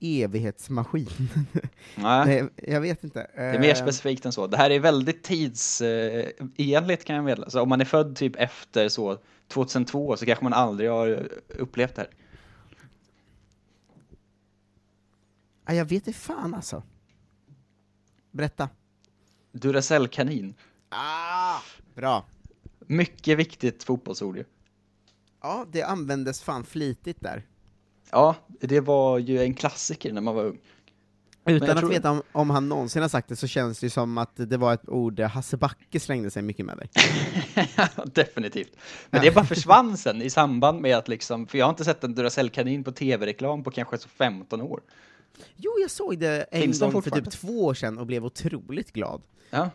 S9: Evighetsmaskin.
S10: Nej,
S9: Nej, eh. jag vet inte.
S10: det är mer specifikt än så. Det här är väldigt tidsenligt kan jag meddela. Så om man är född typ efter så 2002 så kanske man aldrig har upplevt det här.
S9: Ja, jag vet inte fan alltså. Berätta.
S10: Duracell-kanin.
S9: Ah, bra.
S10: Mycket viktigt fotbollsord ju.
S9: Ja, det användes fan flitigt där.
S10: Ja, det var ju en klassiker när man var ung. jag
S9: Utan att
S10: tror-
S9: veta om, om han någonsin har sagt det så känns det ju som att det var ett ord där Hasse Backe slängde sig mycket med dig.
S10: Definitivt. Men det bara försvann sen i samband med att liksom, för jag har inte sett en Duracell-kanin på tv-reklam på kanske så 15 år.
S9: Jo, jag såg det en
S10: Finns de
S9: gång för typ
S10: fortfarande?
S9: två år sedan och blev otroligt glad.
S10: Ja,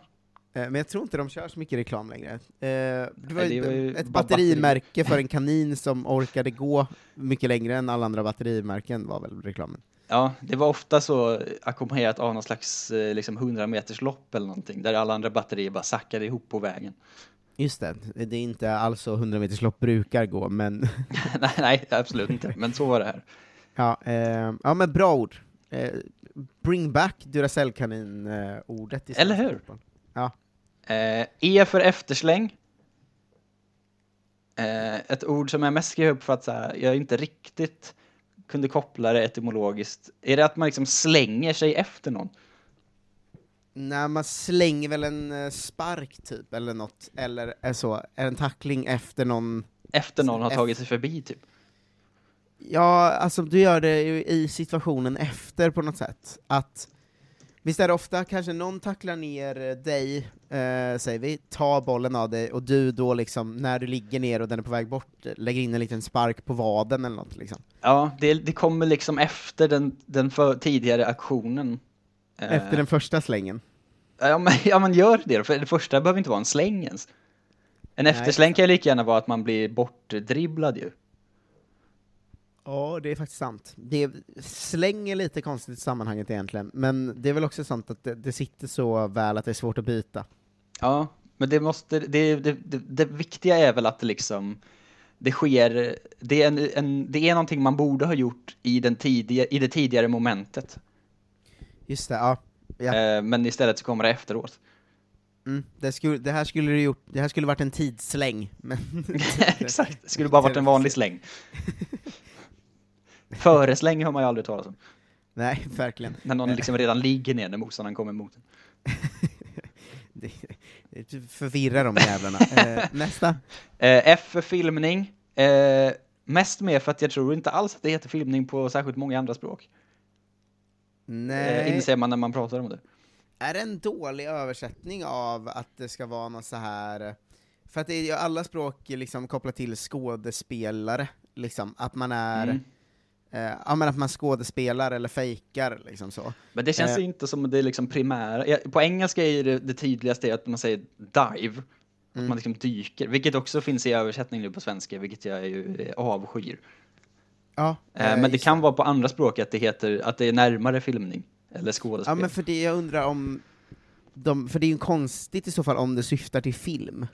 S9: Eh, Men jag tror inte de kör så mycket reklam längre. Eh, Det var
S10: det
S9: ju
S10: var ju
S9: ett
S10: bara
S9: batterimärke för en kanin som orkade gå mycket längre än alla andra batterimärken var väl reklamen.
S10: ja det var ofta så ackompanjerat av någon slags eh, liksom 100 meters lopp eller någonting, där alla andra batterier bara sackade ihop på vägen.
S9: Just det, det är inte alls så 100-meterslopp brukar gå, men
S10: nej, nej, absolut inte, men så var det här.
S9: Ja, eh, ja men bra ord. Eh, bring back Duracellkanin-ordet i svensk
S10: Eller hur?
S9: fotboll. Ja.
S10: Eh, e för eftersläng. Eh, ett ord som jag mest skrev upp för att så här, jag inte riktigt kunde koppla det etymologiskt. Är det att man liksom slänger sig efter någon?
S9: Nej, man slänger väl en eh, spark typ, eller något, eller är så, är en tackling efter någon
S10: Efter någon har
S9: Eff-
S10: tagit sig förbi typ?
S9: Ja, alltså du gör det ju i situationen efter på något sätt. Att, visst är det ofta kanske någon tacklar ner dig, eh, säger vi, tar bollen av dig, och du då liksom, när du ligger ner och den är på väg bort, lägger in en liten spark på vaden eller något liksom.
S10: Ja, det, det kommer liksom efter den, den för, tidigare aktionen. Eh,
S9: Efter den första slängen.
S10: Ja men, ja, men gör det då. För det första behöver inte vara en släng ens. En eftersläng kan ju lika gärna vara att man blir bortdribblad ju.
S9: Ja, det är faktiskt sant. Det slänger lite konstigt i sammanhanget egentligen, men det är väl också sant att det, det sitter så väl att det är svårt att byta.
S10: Ja, men det måste, det, det, det, det viktiga är väl att det liksom, det sker, det är, en, en, det är någonting man borde ha gjort i, den tidiga, i det tidigare momentet.
S9: Just det, ja. ja.
S10: Eh, men istället så kommer det efteråt.
S9: Mm, det, skulle, det, här skulle du gjort, det här skulle varit en tidssläng, men...
S10: Exakt, det skulle bara varit en vanlig släng. Föresläng har man ju aldrig talat om.
S9: Nej, verkligen.
S10: När någon liksom redan ligger ner när motståndaren kommer emot en.
S9: Det, det förvirrar de jävlarna. eh, nästa.
S10: Eh, F för filmning. Eh, mest med för att jag tror inte alls att det heter filmning på särskilt många andra språk. Eh,
S9: Nej.
S10: inser man när man pratar om det.
S9: Är det en dålig översättning av att det ska vara något så här... eh, För att det är ju alla språk liksom kopplat till skådespelare, liksom. Att man är...
S10: Mm.
S9: Eh, ja, men att man skådespelar eller fejkar, liksom så.
S10: Men det känns
S9: Eh.
S10: inte som det liksom primära. Ja, På engelska är ju det, det tydligaste att man säger dive. Att man liksom dyker, vilket också finns i översättning nu på svenska, vilket jag ju eh, avskyr.
S9: Ja,
S10: Eh,
S9: eh,
S10: men det
S9: just
S10: kan vara på andra språk att det heter, att det är närmare filmning. Eller
S9: Ja,
S10: skådespel.
S9: men för det jag undrar om... De, för det är ju konstigt i så fall om det syftar till film.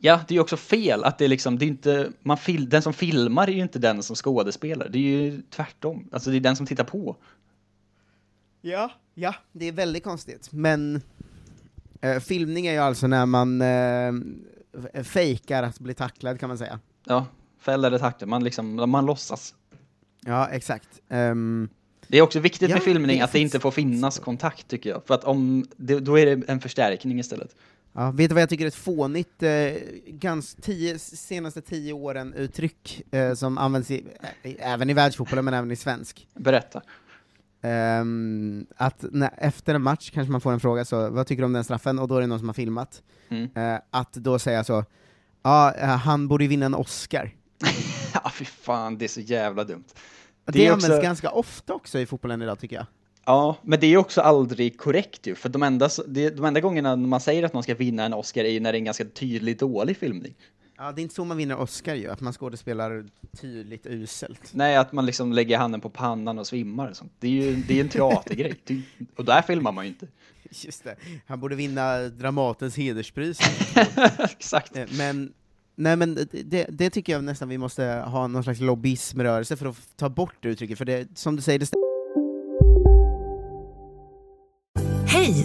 S10: Ja, det är ju också fel att det är liksom, det är inte, man fil, den som filmar är ju inte den som skådespelar. Det är ju tvärtom. Alltså det är den som tittar på.
S9: Ja, ja. Det är väldigt konstigt, men eh, filmning är ju alltså när man eh, f- fejkar att bli tacklad kan man säga.
S10: Ja, fäll eller tackla, man liksom, man låtsas.
S9: Ja, exakt. Ehm,
S10: Det är också viktigt
S9: Ja,
S10: med filmning
S9: det är
S10: att det inte
S9: faktiskt-
S10: får finnas kontakt tycker jag. För att om, det, då är det en förstärkning istället.
S9: ja, vet du vad jag tycker är ett fånigt, eh, gans, tio, senaste tio åren uttryck eh, som används i, ä- även i världsfotbollen men även i svensk?
S10: Berätta.
S9: Ehm, att när, efter en match kanske man får en fråga så, vad tycker du om den straffen? Och då är det någon som har filmat.
S10: Mm.
S9: Eh, att då säga så, ja, eh, han borde ju vinna en Oscar.
S10: Ja, fy fan, det är så jävla dumt.
S9: Det,
S10: är
S9: används
S10: också-
S9: ganska ofta också i fotbollen idag tycker jag.
S10: Ja, men det är ju också aldrig korrekt ju. För de enda, s- det- de enda gångerna man säger att man ska vinna en Oscar är ju när det är en ganska tydligt dålig filmning.
S9: Ja, det är inte så man vinner Oscar ju, att man skådespelar tydligt uselt.
S10: Nej, att man liksom lägger handen på pannan och svimmar och sånt. Det är ju det är en teatergrej. Det är- Och där filmar man ju inte.
S9: Just det. Han borde vinna Dramatens hederspris.
S10: Exakt.
S9: Eh, men, nej men det- det, det tycker jag nästan vi måste ha någon slags lobbyismrörelse för att f- ta bort det uttrycket, för det, som du säger, det stämmer.
S11: Hej,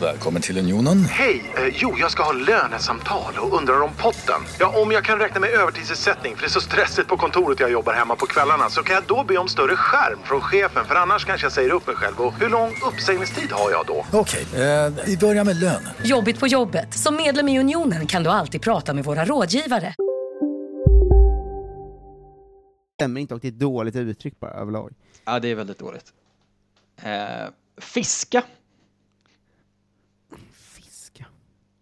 S2: Välkommen till Unionen.
S12: Hej! Eh, jo, jag ska ha lönesamtal och undrar om potten. Ja, om jag kan räkna med övertidsersättning för det är så stressigt på kontoret jag jobbar hemma på kvällarna så kan jag då be om större skärm från chefen för annars kanske jag säger upp mig själv. Och hur lång uppsägningstid har jag då?
S13: Okej, eh, vi börjar med lön.
S14: Jobbigt på jobbet. Som medlem i Unionen kan du alltid prata med våra rådgivare.
S9: stämmer inte och det är ett dåligt uttryck bara överlag.
S10: Ja, det är väldigt dåligt. Eh, fiska.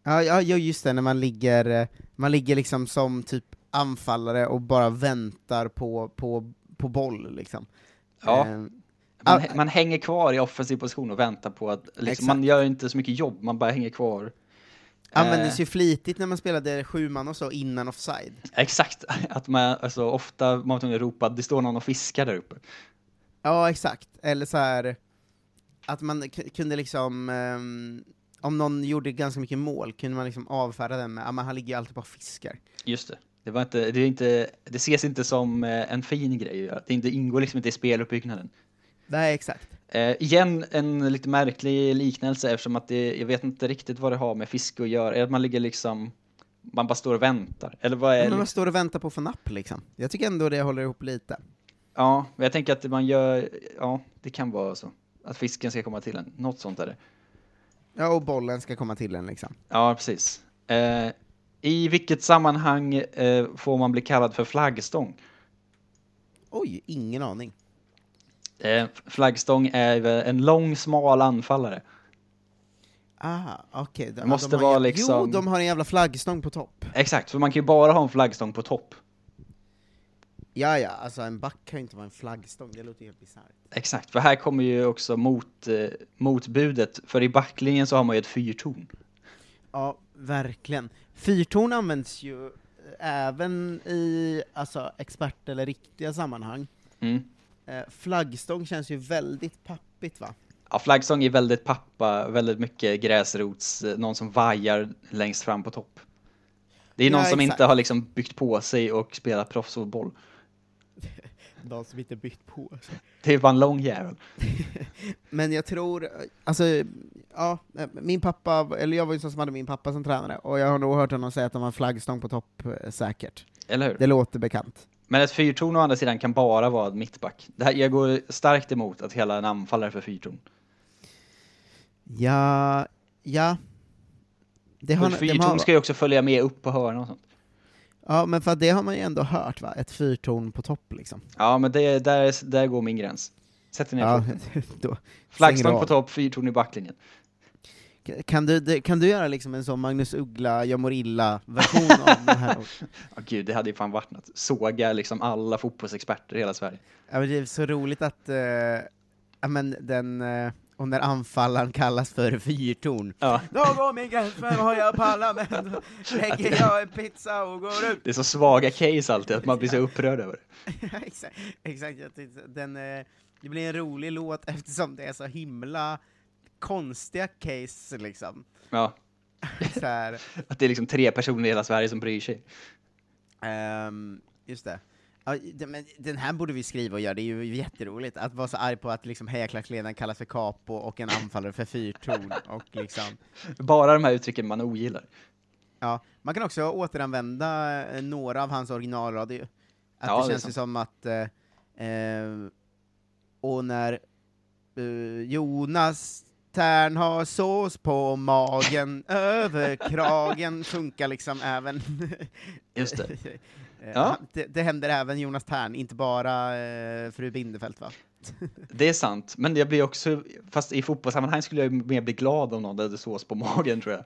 S9: Ja, ja, ja just det, när man ligger, eh, man ligger liksom som typ anfallare och bara väntar på, på, på boll liksom.
S10: Ja.
S9: Eh,
S10: Man, man hänger kvar i offensiv position och väntar på att, liksom,
S9: Exakt.
S10: man gör inte så mycket jobb, man bara hänger kvar. Eh,
S9: Användes ju flitigt när man spelade sju man och så innan offside.
S10: Exakt, att man, alltså, ofta man var tvungen att ropa det står någon och fiskar där uppe.
S9: Ja, exakt. Eller så här att man k- kunde liksom, ehm, om någon gjorde ganska mycket mål, kunde man liksom avfärda den med att han ligger ju alltid bara och fiskar.
S10: Just det. Det, var inte, det, är inte, det ses inte som eh, en fin grej, att det inte ingår liksom inte i speluppbyggnaden.
S9: Nej, exakt.
S10: Eh, igen en lite märklig liknelse eftersom att det, jag vet inte riktigt vad det har med fiske att göra. Är det att man ligger liksom, man bara står och väntar? Eller vad är
S9: Men man
S10: liksom-
S9: står och väntar på att få napp liksom. Jag tycker ändå det håller ihop lite.
S10: Ja, men jag tänker att man gör, ja, det kan vara så. Att fisken ska komma till en, något sånt är det.
S9: Ja, och bollen ska komma till en liksom.
S10: Ja, precis. Eh, I vilket sammanhang eh, får man bli kallad för flaggstång?
S9: Oj, ingen aning.
S10: Eh, flaggstång är ju en lång, smal anfallare.
S9: Ah, okej. De-
S10: Det måste
S9: de har
S10: vara
S9: jä-
S10: liksom-
S9: Jo, de har en jävla flaggstång på topp.
S10: Exakt, för man kan ju bara ha en flaggstång på topp.
S9: Ja, ja, alltså en back kan ju inte vara en flaggstång, det låter ju helt bisarrt.
S10: Exakt, för här kommer ju också mot, eh, motbudet, för i backlinjen så har man ju ett fyrtorn.
S9: Ja, verkligen. Fyrtorn används ju eh, även i alltså, expert eller riktiga sammanhang.
S10: Mm.
S9: Eh, Flaggstång känns ju väldigt pappigt va?
S10: Ja, flaggstång är väldigt pappa, väldigt mycket gräsrots, eh, någon som vajar längst fram på topp. Det är
S9: Ja,
S10: någon som
S9: exakt.
S10: inte har liksom byggt på sig och spelat proffsfotboll.
S9: De som inte bytt på alltså. sig.
S10: Det är bara en lång jävel.
S9: Men jag tror, alltså, ja, eh, min pappa, eller jag var ju sån som hade min pappa som tränare, och jag har nog hört honom säga att de har flaggstång på topp eh, säkert.
S10: Eller hur?
S9: Det låter bekant.
S10: Men ett fyrtorn å andra sidan kan bara vara en mittback. Det här, jag går starkt emot att hela en anfallare för fyrtorn.
S9: Ja, ja. Det
S10: För
S9: har,
S10: ett
S9: de har,
S10: fyrtorn ska ju också följa med upp på hörnan och sånt.
S9: ja, men för att det har man ju ändå hört va? Ett fyrtorn på topp liksom.
S10: Ja, men det, där, där går min gräns. Sätter ner
S9: Ja,
S10: foten.
S9: då stänger du
S10: Flaggstång på
S9: av.
S10: topp, fyrtorn i backlinjen.
S9: Kan du, det- kan du göra liksom en sån Magnus Uggla, jag mår illa-version av det här?
S10: Ja, gud, det hade ju fan varit något. Såga liksom alla fotbollsexperter i hela Sverige.
S9: Ja, men det är så roligt att eh, ja, men den, eh, och när anfallaren kallas för fyrtorn.
S10: Ja.
S9: Då går min gräns, vem har jag pallat med? Lägger jag en pizza och går ut?
S10: Det är så svaga case alltid att man blir så upprörd över det.
S9: exakt, exakt jag tyckte, den, eh, det blir en rolig låt eftersom det är så himla konstiga case liksom.
S10: Ja,
S9: Så här,
S10: att det är liksom tre personer i hela Sverige som bryr sig.
S9: Ehm, just det. Ja, det- men den här borde vi skriva och göra, det är ju jätteroligt. Att vara så arg på att liksom hejaklacksledaren kallas för capo och en anfallare för fyrtorn. Och liksom,
S10: Bara de här uttrycken man ogillar.
S9: ja. Man kan också återanvända eh, några av hans originalradio. Att
S10: Ja, det
S9: det
S10: är
S9: känns
S10: sant.
S9: ju som att... Eh, eh, och när eh, Jonas Tern har sås på magen, över kragen, funkar liksom även
S10: Just det.
S9: Eh,
S10: Ja.
S9: han- Det, det händer även Jonas Tern, inte bara eh, fru Bindefeld va?
S10: Det är sant, men jag blir också, fast i fotbollssammanhang skulle jag ju mer bli glad om någon hade sås på magen tror jag.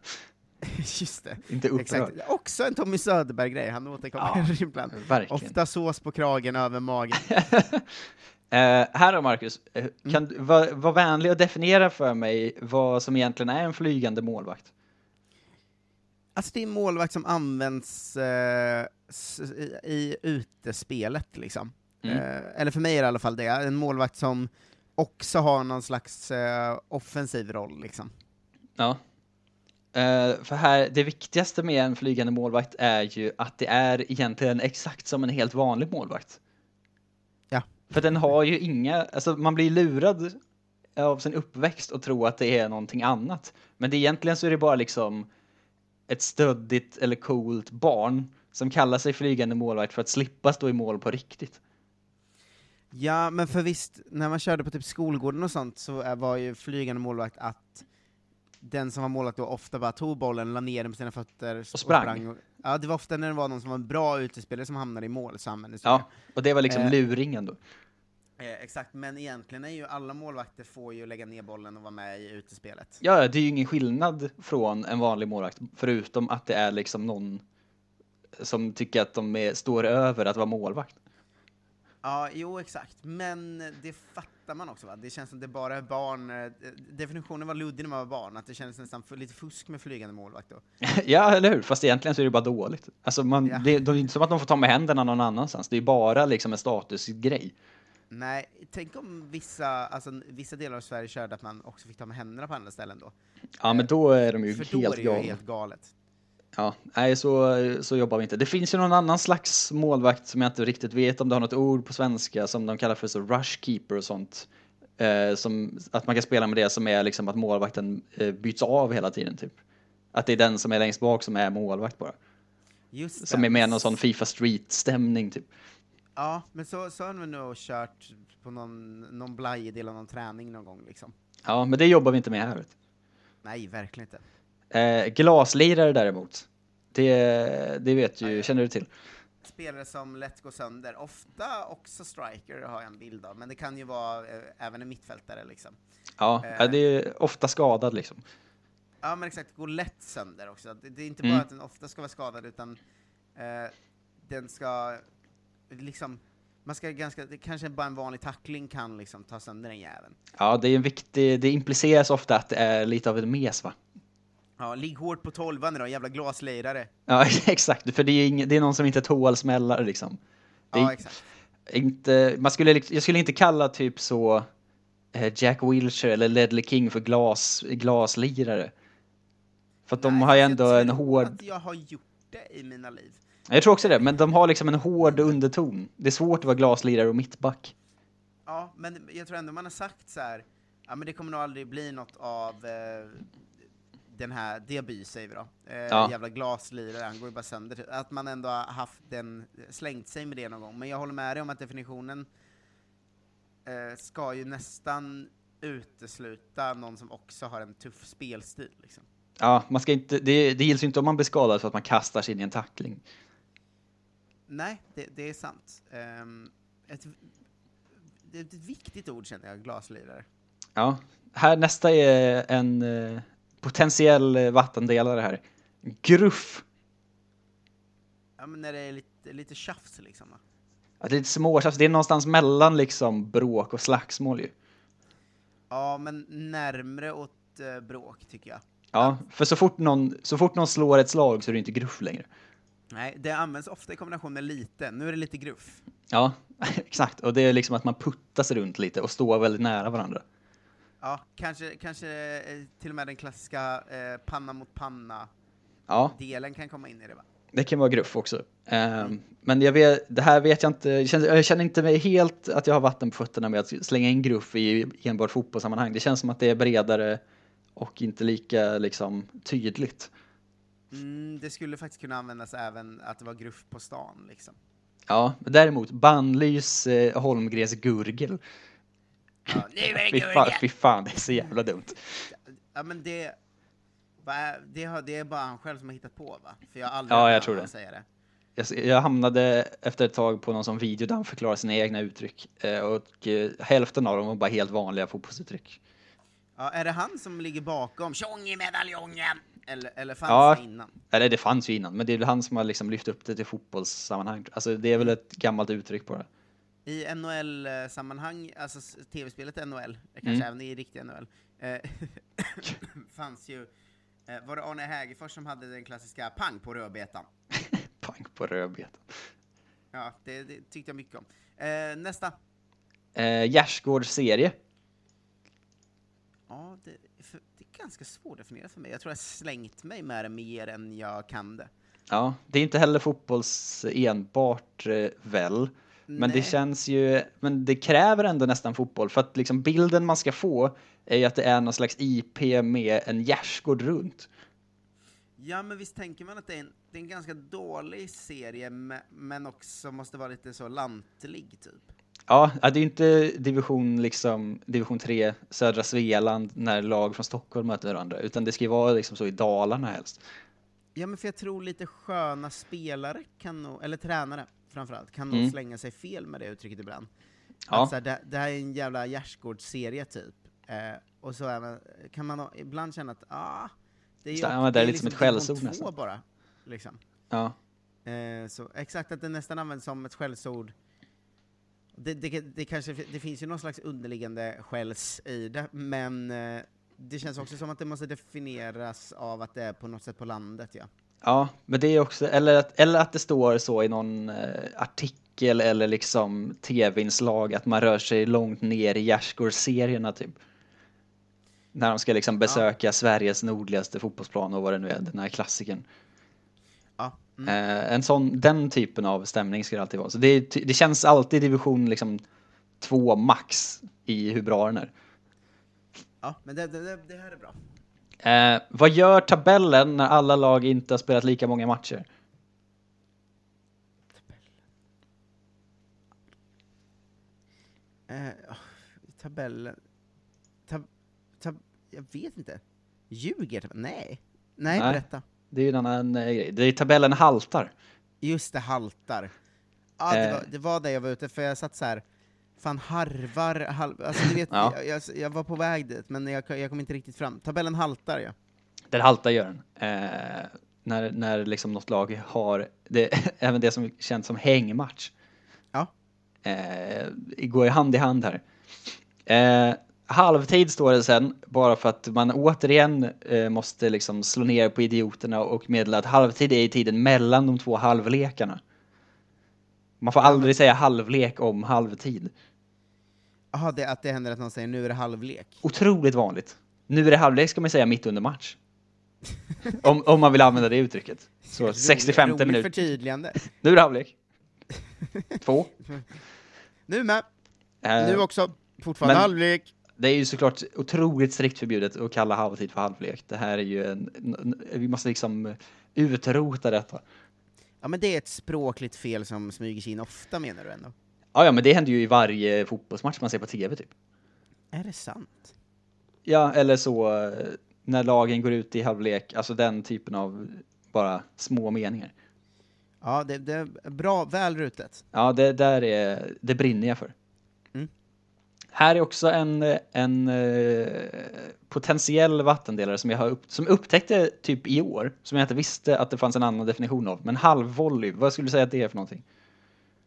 S9: Just det.
S10: Inte upprörd.
S9: Exakt. Också en Tommy Söderberg-grej, han återkommer ibland.
S10: verkligen.
S9: Ofta sås på kragen, över magen.
S10: Eh, här då Marcus, Eh, kan du var, var vänlig och definiera för mig vad som egentligen är en flygande målvakt.
S9: Alltså det är en målvakt som används eh, s- i, i utespelet liksom.
S10: Mm.
S9: Eh, eller för mig är det i alla fall det, en målvakt som också har någon slags eh, offensiv roll liksom.
S10: Ja. Eh, för här, det viktigaste med en flygande målvakt är ju att det är egentligen exakt som en helt vanlig målvakt.
S9: Ja.
S10: För den har ju inga, alltså man blir lurad av sin uppväxt och tror att det är någonting annat. Men det egentligen så är det bara liksom ett stöddigt eller coolt barn som kallar sig flygande målvakt för att slippa stå i mål på riktigt.
S9: Ja, men för visst, när man körde på typ skolgården och sånt så eh, var ju flygande målvakt att den som var målvakt då ofta bara tog bollen, la ner den på sina fötter
S10: Och sprang.
S9: Ja, det var ofta när det var någon som var en bra utespelare som hamnade i mål så användes det.
S10: Ja, och det var liksom
S9: Eh.
S10: luringen då.
S9: Eh, Exakt, men egentligen är ju alla målvakter får ju lägga ner bollen och vara med i utespelet.
S10: Ja, det är ju ingen skillnad från en vanlig målvakt, förutom att det är liksom någon som tycker att de är, står över att vara målvakt.
S9: Ja, jo exakt. Men det fattar man också va? Det känns som det bara är barn, eh, definitionen var luddig när man var barn, att det kändes nästan för, lite fusk med flygande målvakt då.
S10: ja, eller hur? Fast egentligen så är det bara dåligt. Alltså man,
S9: Ja.
S10: det, det är inte som att de får ta med händerna någon annanstans. Det är bara liksom en statusgrej.
S9: Nej, tänk om vissa, alltså, vissa delar av Sverige körde att man också fick ta med händerna på andra ställen då.
S10: Ja, men då är de ju
S9: För då är
S10: helt
S9: det ju
S10: galna.
S9: helt galet.
S10: Ja, nej, så, så jobbar vi inte. Det finns ju någon annan slags målvakt som jag inte riktigt vet om det har något ord på svenska som de kallar för så rushkeeper och sånt. Eh, som, att man kan spela med det som är liksom att målvakten eh, byts av hela tiden typ. Att det är den som är längst bak som är målvakt bara.
S9: Just det.
S10: Som är med någon sån Fifa Street-stämning typ.
S9: Ja, men så, så har vi nog kört på någon, någon blajig del av någon träning någon gång liksom.
S10: Ja, men det jobbar vi inte med här. vet
S9: Nej, verkligen inte.
S10: du. Eh, glaslirare däremot. Det, det vet ju, känner du till?
S9: Spelare som lätt går sönder, ofta också striker har jag en bild av, men det kan ju vara eh, även en mittfältare liksom.
S10: Ja,
S9: Eh.
S10: ja, det är ofta skadad liksom.
S9: Ja men exakt, går lätt sönder också. Det, det är inte
S10: Mm.
S9: bara att den ofta ska vara skadad utan eh, den ska liksom, man ska ganska, det kanske bara en vanlig tackling kan liksom ta sönder den jäveln.
S10: Ja, det är en viktig, det impliceras ofta att det är lite av en mes va?
S9: Ja, ligg hårt på tolvan idag, jävla glaslirare.
S10: Ja, exakt, för det är, ing, det är någon som inte tål smällar liksom. Det är
S9: Ja, exakt.
S10: inte, man skulle, likt- jag skulle inte kalla typ så eh, Jack Wilshere eller Ledley King för glas, glaslirare. För att de har ju ändå en hård,
S9: Att jag har gjort det i mina liv.
S10: jag tror också det, men de har liksom en hård underton. Det är svårt att vara glaslirare och mittback.
S9: Ja, men jag tror ändå man har sagt så här, ja men det kommer nog aldrig bli något av eh, den här, det by säger vi då. Eh,
S10: Ja.
S9: Jävla glaslirare, han går ju bara sönder. Att man ändå har haft den, slängt sig med det någon gång. Men jag håller med dig om att definitionen eh, ska ju nästan utesluta någon som också har en tuff spelstil. Liksom.
S10: Ja, man ska inte, det, det gills ju inte om man blir skadad för att man kastar sig in i en tackling.
S9: Nej, det, det är sant. Ehm, ett, det är ett viktigt ord känner jag, glaslirare.
S10: Ja, här nästa är en eh, potentiell eh, vattendelare här. Gruff.
S9: Ja men när det är lite, lite tjafs liksom. Va?
S10: Att det är lite småtjafs, det är någonstans mellan liksom bråk och slagsmål ju.
S9: Ja, men närmre åt eh, bråk tycker jag.
S10: Ja, för så fort, någon, så fort någon slår ett slag så är det inte gruff längre.
S9: Nej, det används ofta i kombination med lite. Nu är det lite gruff.
S10: Ja, exakt. Och det är liksom att man puttas runt lite och står väldigt nära varandra.
S9: Ja, kanske, kanske eh, till och med den klassiska eh, panna mot panna
S10: Ja,
S9: delen kan komma in i det va?
S10: det kan vara gruff också. Ehm, Men jag vet, det här vet jag inte, jag känner, jag känner inte mig helt att jag har vatten på fötterna med att slänga in gruff i enbart fotbollssammanhang. Det känns som att det är bredare och inte lika liksom tydligt.
S9: Mm, det skulle faktiskt kunna användas även att det var gruff på stan liksom.
S10: Ja, men däremot bannlys eh, Holmgrens gurgel.
S9: Ja, nu är det
S10: Fy fan,
S9: gurgel!
S10: fy fan, det är så jävla dumt.
S9: Ja, men det, va, det, har, det är bara han själv som har hittat på va? För jag har aldrig
S10: Ja,
S9: hört
S10: jag tror
S9: någon
S10: det.
S9: säga det.
S10: Jag, jag hamnade efter ett tag på någon som videodamm förklarar sina egna uttryck eh, och eh, hälften av dem var bara helt vanliga fotbollsuttryck.
S9: Ja, är det han som ligger bakom tjong i medaljongen? Eller, eller fanns
S10: Ja,
S9: det innan?
S10: eller det fanns ju innan, men det är väl han som har liksom lyft upp det till fotbollssammanhang. Alltså det är väl ett gammalt uttryck bara.
S9: I NHL-sammanhang, alltså s- tv-spelet NHL, eh, kanske
S10: Mm.
S9: även i riktiga NHL, eh, fanns ju, eh, var det Arne Hägerfors som hade den klassiska pang på rödbetan?
S10: Pang på rödbetan.
S9: Ja, det, det tyckte jag mycket om. Eh, nästa.
S10: Eh, Gärsgårds serie.
S9: Ja, det, för, det är ganska svårdefinierat för mig. Jag tror jag slängt mig med det mer än jag kan det.
S10: Ja, det är inte heller fotbolls enbart eh, väl. Men
S9: Nej.
S10: det känns ju, men det kräver ändå nästan fotboll för att liksom bilden man ska få är ju att det är någon slags IP med en gärdsgård runt.
S9: Ja, men visst tänker man att det är en, det är en ganska dålig serie, me- men också måste vara lite så lantlig, typ.
S10: Ja, ja, det är ju inte division, liksom, division 3, södra Svealand, när lag från Stockholm möter varandra, utan det ska ju vara liksom så i Dalarna helst.
S9: Ja, men för jag tror lite sköna spelare, kan nog, eller tränare framförallt, kan nog
S10: Mm.
S9: slänga sig fel med det uttrycket ibland.
S10: Ja.
S9: Att så här, det, det här är en jävla gärdsgårdsserie typ. Eh, och så är man, kan man ha- ibland känna att ah, det är ju
S10: Så, ja,
S9: också-
S10: men det är lite som ett
S9: division
S10: skällsord
S9: två
S10: nästan.
S9: bara. Liksom.
S10: Ja.
S9: Eh, så, exakt, att det nästan används som ett skällsord. Det, det, det, kanske, det finns ju någon slags underliggande skälls i det, men eh, det känns också som att det måste definieras av att det är på något sätt på landet. Ja.
S10: Ja, men det är också, eller att, eller att det står så i någon eh, artikel eller liksom tv-inslag att man rör sig långt ner i gärdsgårdsserierna typ. När de ska liksom besöka Sveriges nordligaste fotbollsplan och vad det nu är, den här klassikern.
S9: Ja.
S10: Eh, en sån, den typen av stämning ska det alltid vara. Så det, är ty- det känns alltid division liksom två max i hur bra den är.
S9: Ja, men det, det, det, det här är bra.
S10: Eh, vad gör tabellen när alla lag inte har spelat lika många matcher?
S9: Eh, åh, tabellen... Tab, tab, jag vet inte. Ljuger tabellen? Nej. Nej, berätta.
S10: Det är ju en annan eh, grej. Det är tabellen haltar.
S9: Just det, haltar. Ja, det,
S10: Eh.
S9: var, det var det jag var ute för jag satt så här. fan harvar, halv, alltså du vet,
S10: Ja.
S9: jag, jag, jag var på väg dit, men jag, jag kom inte riktigt fram. Tabellen haltar ja.
S10: Den haltar gör den. Eh, när, när liksom något lag har, det, även det som känns som hängmatch.
S9: Ja.
S10: Eh, går ju hand i hand här. Eh, halvtid står det sen, bara för att man återigen eh, måste liksom slå ner på idioterna och meddela att halvtid är i tiden mellan de två halvlekarna. Man får aldrig säga halvlek om halvtid.
S9: Jaha, det, att det händer att någon säger nu är det halvlek.
S10: Otroligt vanligt. Nu är det halvlek ska man säga mitt under match. om, om man vill använda det uttrycket. Så 65
S9: Roligt
S10: minut.
S9: förtydligande.
S10: Nu är det halvlek. Två.
S9: Nu med,
S10: Eh,
S9: nu också, fortfarande
S10: men-
S9: halvlek.
S10: Det är ju såklart otroligt strikt förbjudet att kalla halvtid för halvlek. Det här är ju en... n- n- Vi måste liksom utrota detta.
S9: Ja men det är ett språkligt fel som smyger sig in ofta menar du ändå?
S10: Ja, ja, men det händer ju i varje fotbollsmatch man ser på tv typ.
S9: Är det sant?
S10: Ja, eller så eh, när lagen går ut i halvlek, alltså den typen av bara små meningar.
S9: Ja, det, det är bra, väl rutet.
S10: Ja, det där är, det brinner jag för.
S9: Mm.
S10: Här är också en, en eh, potentiell vattendelare som jag har upp, som upptäckte typ i år, som jag inte visste att det fanns en annan definition av. Men halvvolley, vad skulle du säga att det är för någonting?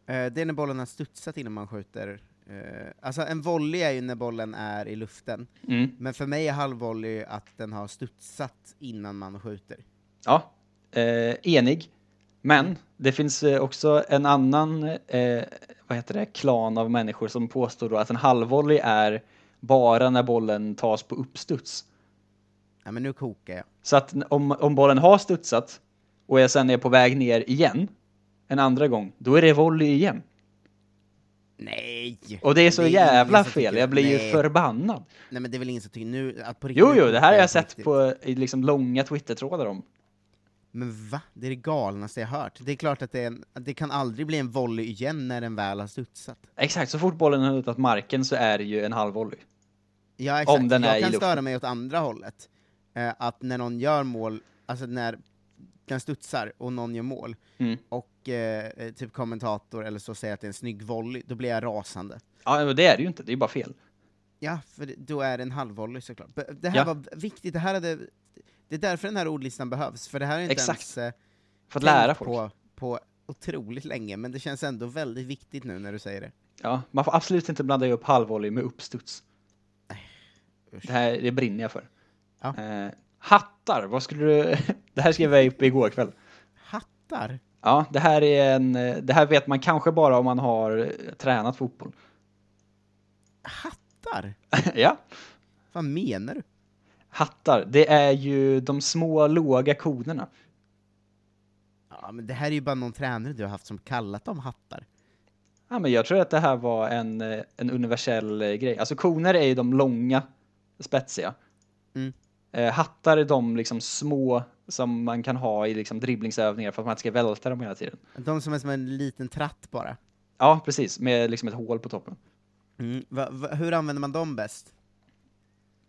S9: Eh, Det är när bollen har studsat innan man skjuter. Eh, Alltså en volley är ju när bollen är i luften,
S10: Mm.
S9: men för mig är halvvolley att den har studsat innan man skjuter.
S10: Ja, eh, enig. Men det finns eh, också en annan, eh, vad heter det, klan av människor som påstår då att en halvvolley är bara när bollen tas på uppstuds.
S9: Ja men nu kokar jag.
S10: Så att n- om, om bollen har studsat och jag sen är på väg ner igen en andra gång, då är det volley igen.
S9: Nej!
S10: Och det är så
S9: ingen
S10: jävla
S9: som tycker
S10: fel,
S9: det.
S10: jag blir
S9: Nej.
S10: ju förbannad.
S9: Nej men det är väl ingen som tycker nu, att på riktigt.
S10: Jo, jo, det här har
S9: är
S10: jag
S9: på
S10: sett
S9: riktigt.
S10: på i liksom långa Twitter-trådar om.
S9: Men va? Det är det galnaste jag hört. Det är klart att det, är en, att det kan aldrig bli en volley igen när den väl har studsat.
S10: Exakt, så fort bollen har hittat marken så är det ju en halvvolley.
S9: Ja, exakt.
S10: Om den
S9: jag
S10: är i
S9: kan
S10: luften.
S9: störa mig åt andra hållet. Eh, att när någon gör mål, alltså när den studsar och någon gör mål,
S10: Mm.
S9: och eh, typ kommentator eller så säger att det är en snygg volley, då blir jag rasande.
S10: Ja, men det är det ju inte, det är bara fel.
S9: Ja, för det- då är det en halvvolley såklart. B- Det här
S10: Ja.
S9: var viktigt, det här hade... Det är därför den här ordlistan behövs, för det här är inte
S10: Exakt.
S9: ens... eh,
S10: För att
S9: tänkt
S10: lära folk.
S9: På, på otroligt länge, men det känns ändå väldigt viktigt nu när du säger det.
S10: Ja, man får absolut inte blanda ihop halvvolley med uppstuds. Det här det brinner jag för.
S9: Ja.
S10: Eh, hattar, vad skulle du... det här skrev jag upp igår kväll.
S9: Hattar?
S10: Ja, det här är en... eh, Det här vet man kanske bara om man har eh, tränat fotboll.
S9: Hattar?
S10: ja,
S9: Vad menar du?
S10: hattar. Det är ju de små låga konerna.
S9: Ja, men det här är ju bara någon tränare du har haft som kallat dem hattar.
S10: Ja, men jag tror att det här var en, eh, en universell eh, grej. Alltså koner är ju de långa, spetsiga.
S9: Mm.
S10: Eh, hattar är de liksom små som man kan ha i liksom dribblingsövningar för att man inte ska välta dem hela tiden.
S9: De som är som en liten tratt bara.
S10: Ja, precis. Med liksom ett hål på toppen.
S9: Mm. Va, va, hur använder man dem bäst?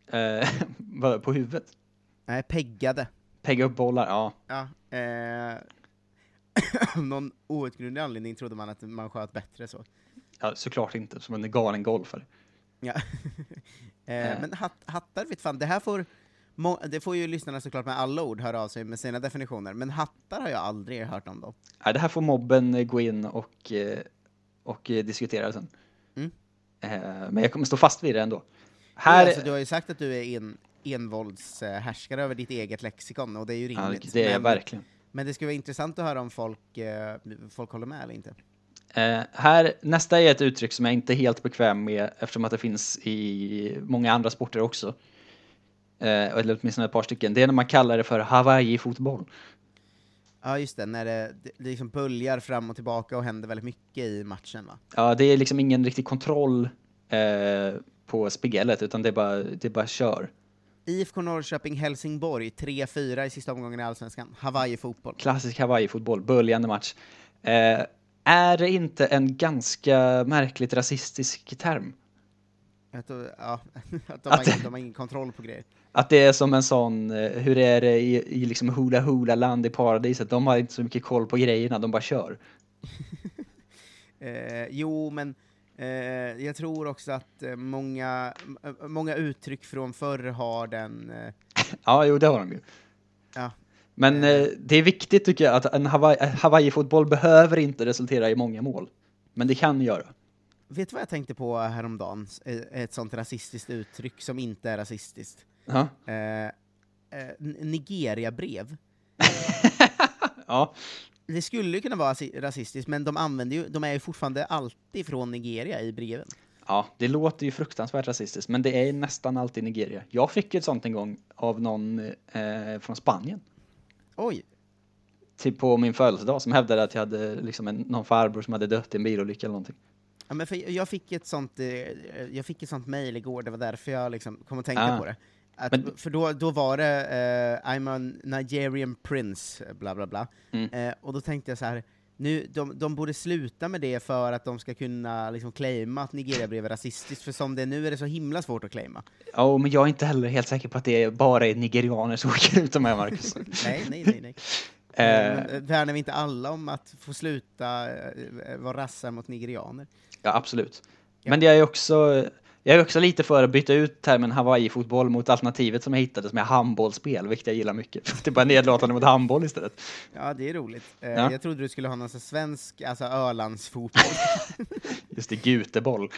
S10: Eh, vad- på huvudet.
S9: Nej, peggade.
S10: Pegga upp bollar, ja.
S9: Ja, eh, av någon outgrundlig anledning trodde man att man sköt bättre så.
S10: ja. Såklart inte, som en galen golfare.
S9: Ja. eh,
S10: Eh.
S9: Men hat, hattar vet fan, det här får, må- det får ju lyssnarna såklart med alla ord höra av sig med sina definitioner, men hattar har jag aldrig hört om dem.
S10: Nej, det här får mobben eh, gå in och, eh, och eh, diskutera sen.
S9: Mm.
S10: Eh, Men jag kommer stå fast vid det ändå. Här,
S9: alltså, du har ju sagt att du är en, envåldshärskare över ditt eget lexikon, och det är ju
S10: Ja,
S9: rimligt.
S10: det är jag verkligen.
S9: Men det skulle vara intressant att höra om folk, eh, folk håller med eller inte.
S10: Eh, här, nästa är ett uttryck som jag inte är helt bekväm med eftersom att det finns i många andra sporter också. Eh, eller åtminstone ett par stycken. Det är när man kallar det för Hawaii-fotboll.
S9: Ja, just det, när det, det liksom böljar fram och tillbaka och händer väldigt mycket i matchen, va?
S10: Ja, det är liksom ingen riktig kontroll eh, på spegellet utan det är bara, det är bara kör.
S9: IFK Norrköping-Helsingborg 3-4 i sista omgången i Allsvenskan. Hawaii-fotboll.
S10: Klassisk Hawaii-fotboll, böljande match. Eh, är det inte en ganska märkligt rasistisk term?
S9: Att, de- ja, att de,
S10: Att
S9: har,
S10: det-
S9: ingen- de har ingen kontroll på grejer.
S10: Att det är som en sån, eh, hur är det i, i liksom Hula Hula-land i paradiset? De har inte så mycket koll på grejerna, de bara kör.
S9: Eh, jo, men eh, jag tror också att eh, många, m- eh, många uttryck från förr har den... Eh,
S10: Ja, jo, det har de ju.
S9: ja.
S10: Men eh, det är viktigt tycker jag att en Hawaii- eh, Hawaii-fotboll behöver inte resultera i många mål. Men det kan göra.
S9: Vet du vad jag tänkte på häromdagen? S- eh, Ett sånt rasistiskt uttryck som inte är rasistiskt.
S10: Ja.
S9: Eh, eh, N- Nigeria-brev.
S10: ja.
S9: Det skulle ju kunna vara rasi- rasistiskt, men de, använder ju, de är ju fortfarande alltid från Nigeria i breven.
S10: Ja, det låter ju fruktansvärt rasistiskt, men det är nästan alltid Nigeria. Jag fick ju ett sånt en gång av någon eh, från Spanien.
S9: Oj!
S10: Typ på min födelsedag som hävdade att jag hade liksom en, någon farbror som hade dött i en bilolycka eller någonting.
S9: Ja, men för jag fick ett sånt, eh, jag fick ett sånt mejl igår, det var därför jag liksom kom att tänka
S10: Ah.
S9: på det. Att,
S10: Men-
S9: För då, då var det eh, I'm a Nigerian prince, bla bla bla.
S10: Mm.
S9: Eh, och då tänkte jag så här, nu, de, de borde sluta med det för att de ska kunna liksom claima att Nigeria-brev är rasistiskt, för som det är nu är det så himla svårt att claima.
S10: Ja, men jag är inte heller helt säker på att det är bara är nigerianer som åker ut de här, Marcus.
S9: Nej, nej, nej. nej.
S10: Eh.
S9: Men, eh, värnar vi inte alla om att få sluta eh, vara rassar mot nigerianer?
S10: Ja, absolut. Men jag är också, jag är också lite för att byta ut termen Hawaii-fotboll mot alternativet som jag hittade som är handbollsspel, vilket jag gillar mycket. För att Det är bara nedlåtande mot handboll istället.
S9: Ja, det är roligt. Eh,
S10: Ja.
S9: Jag trodde du skulle ha någon sån svensk, alltså Ölandsfotboll.
S10: Just det, guteboll.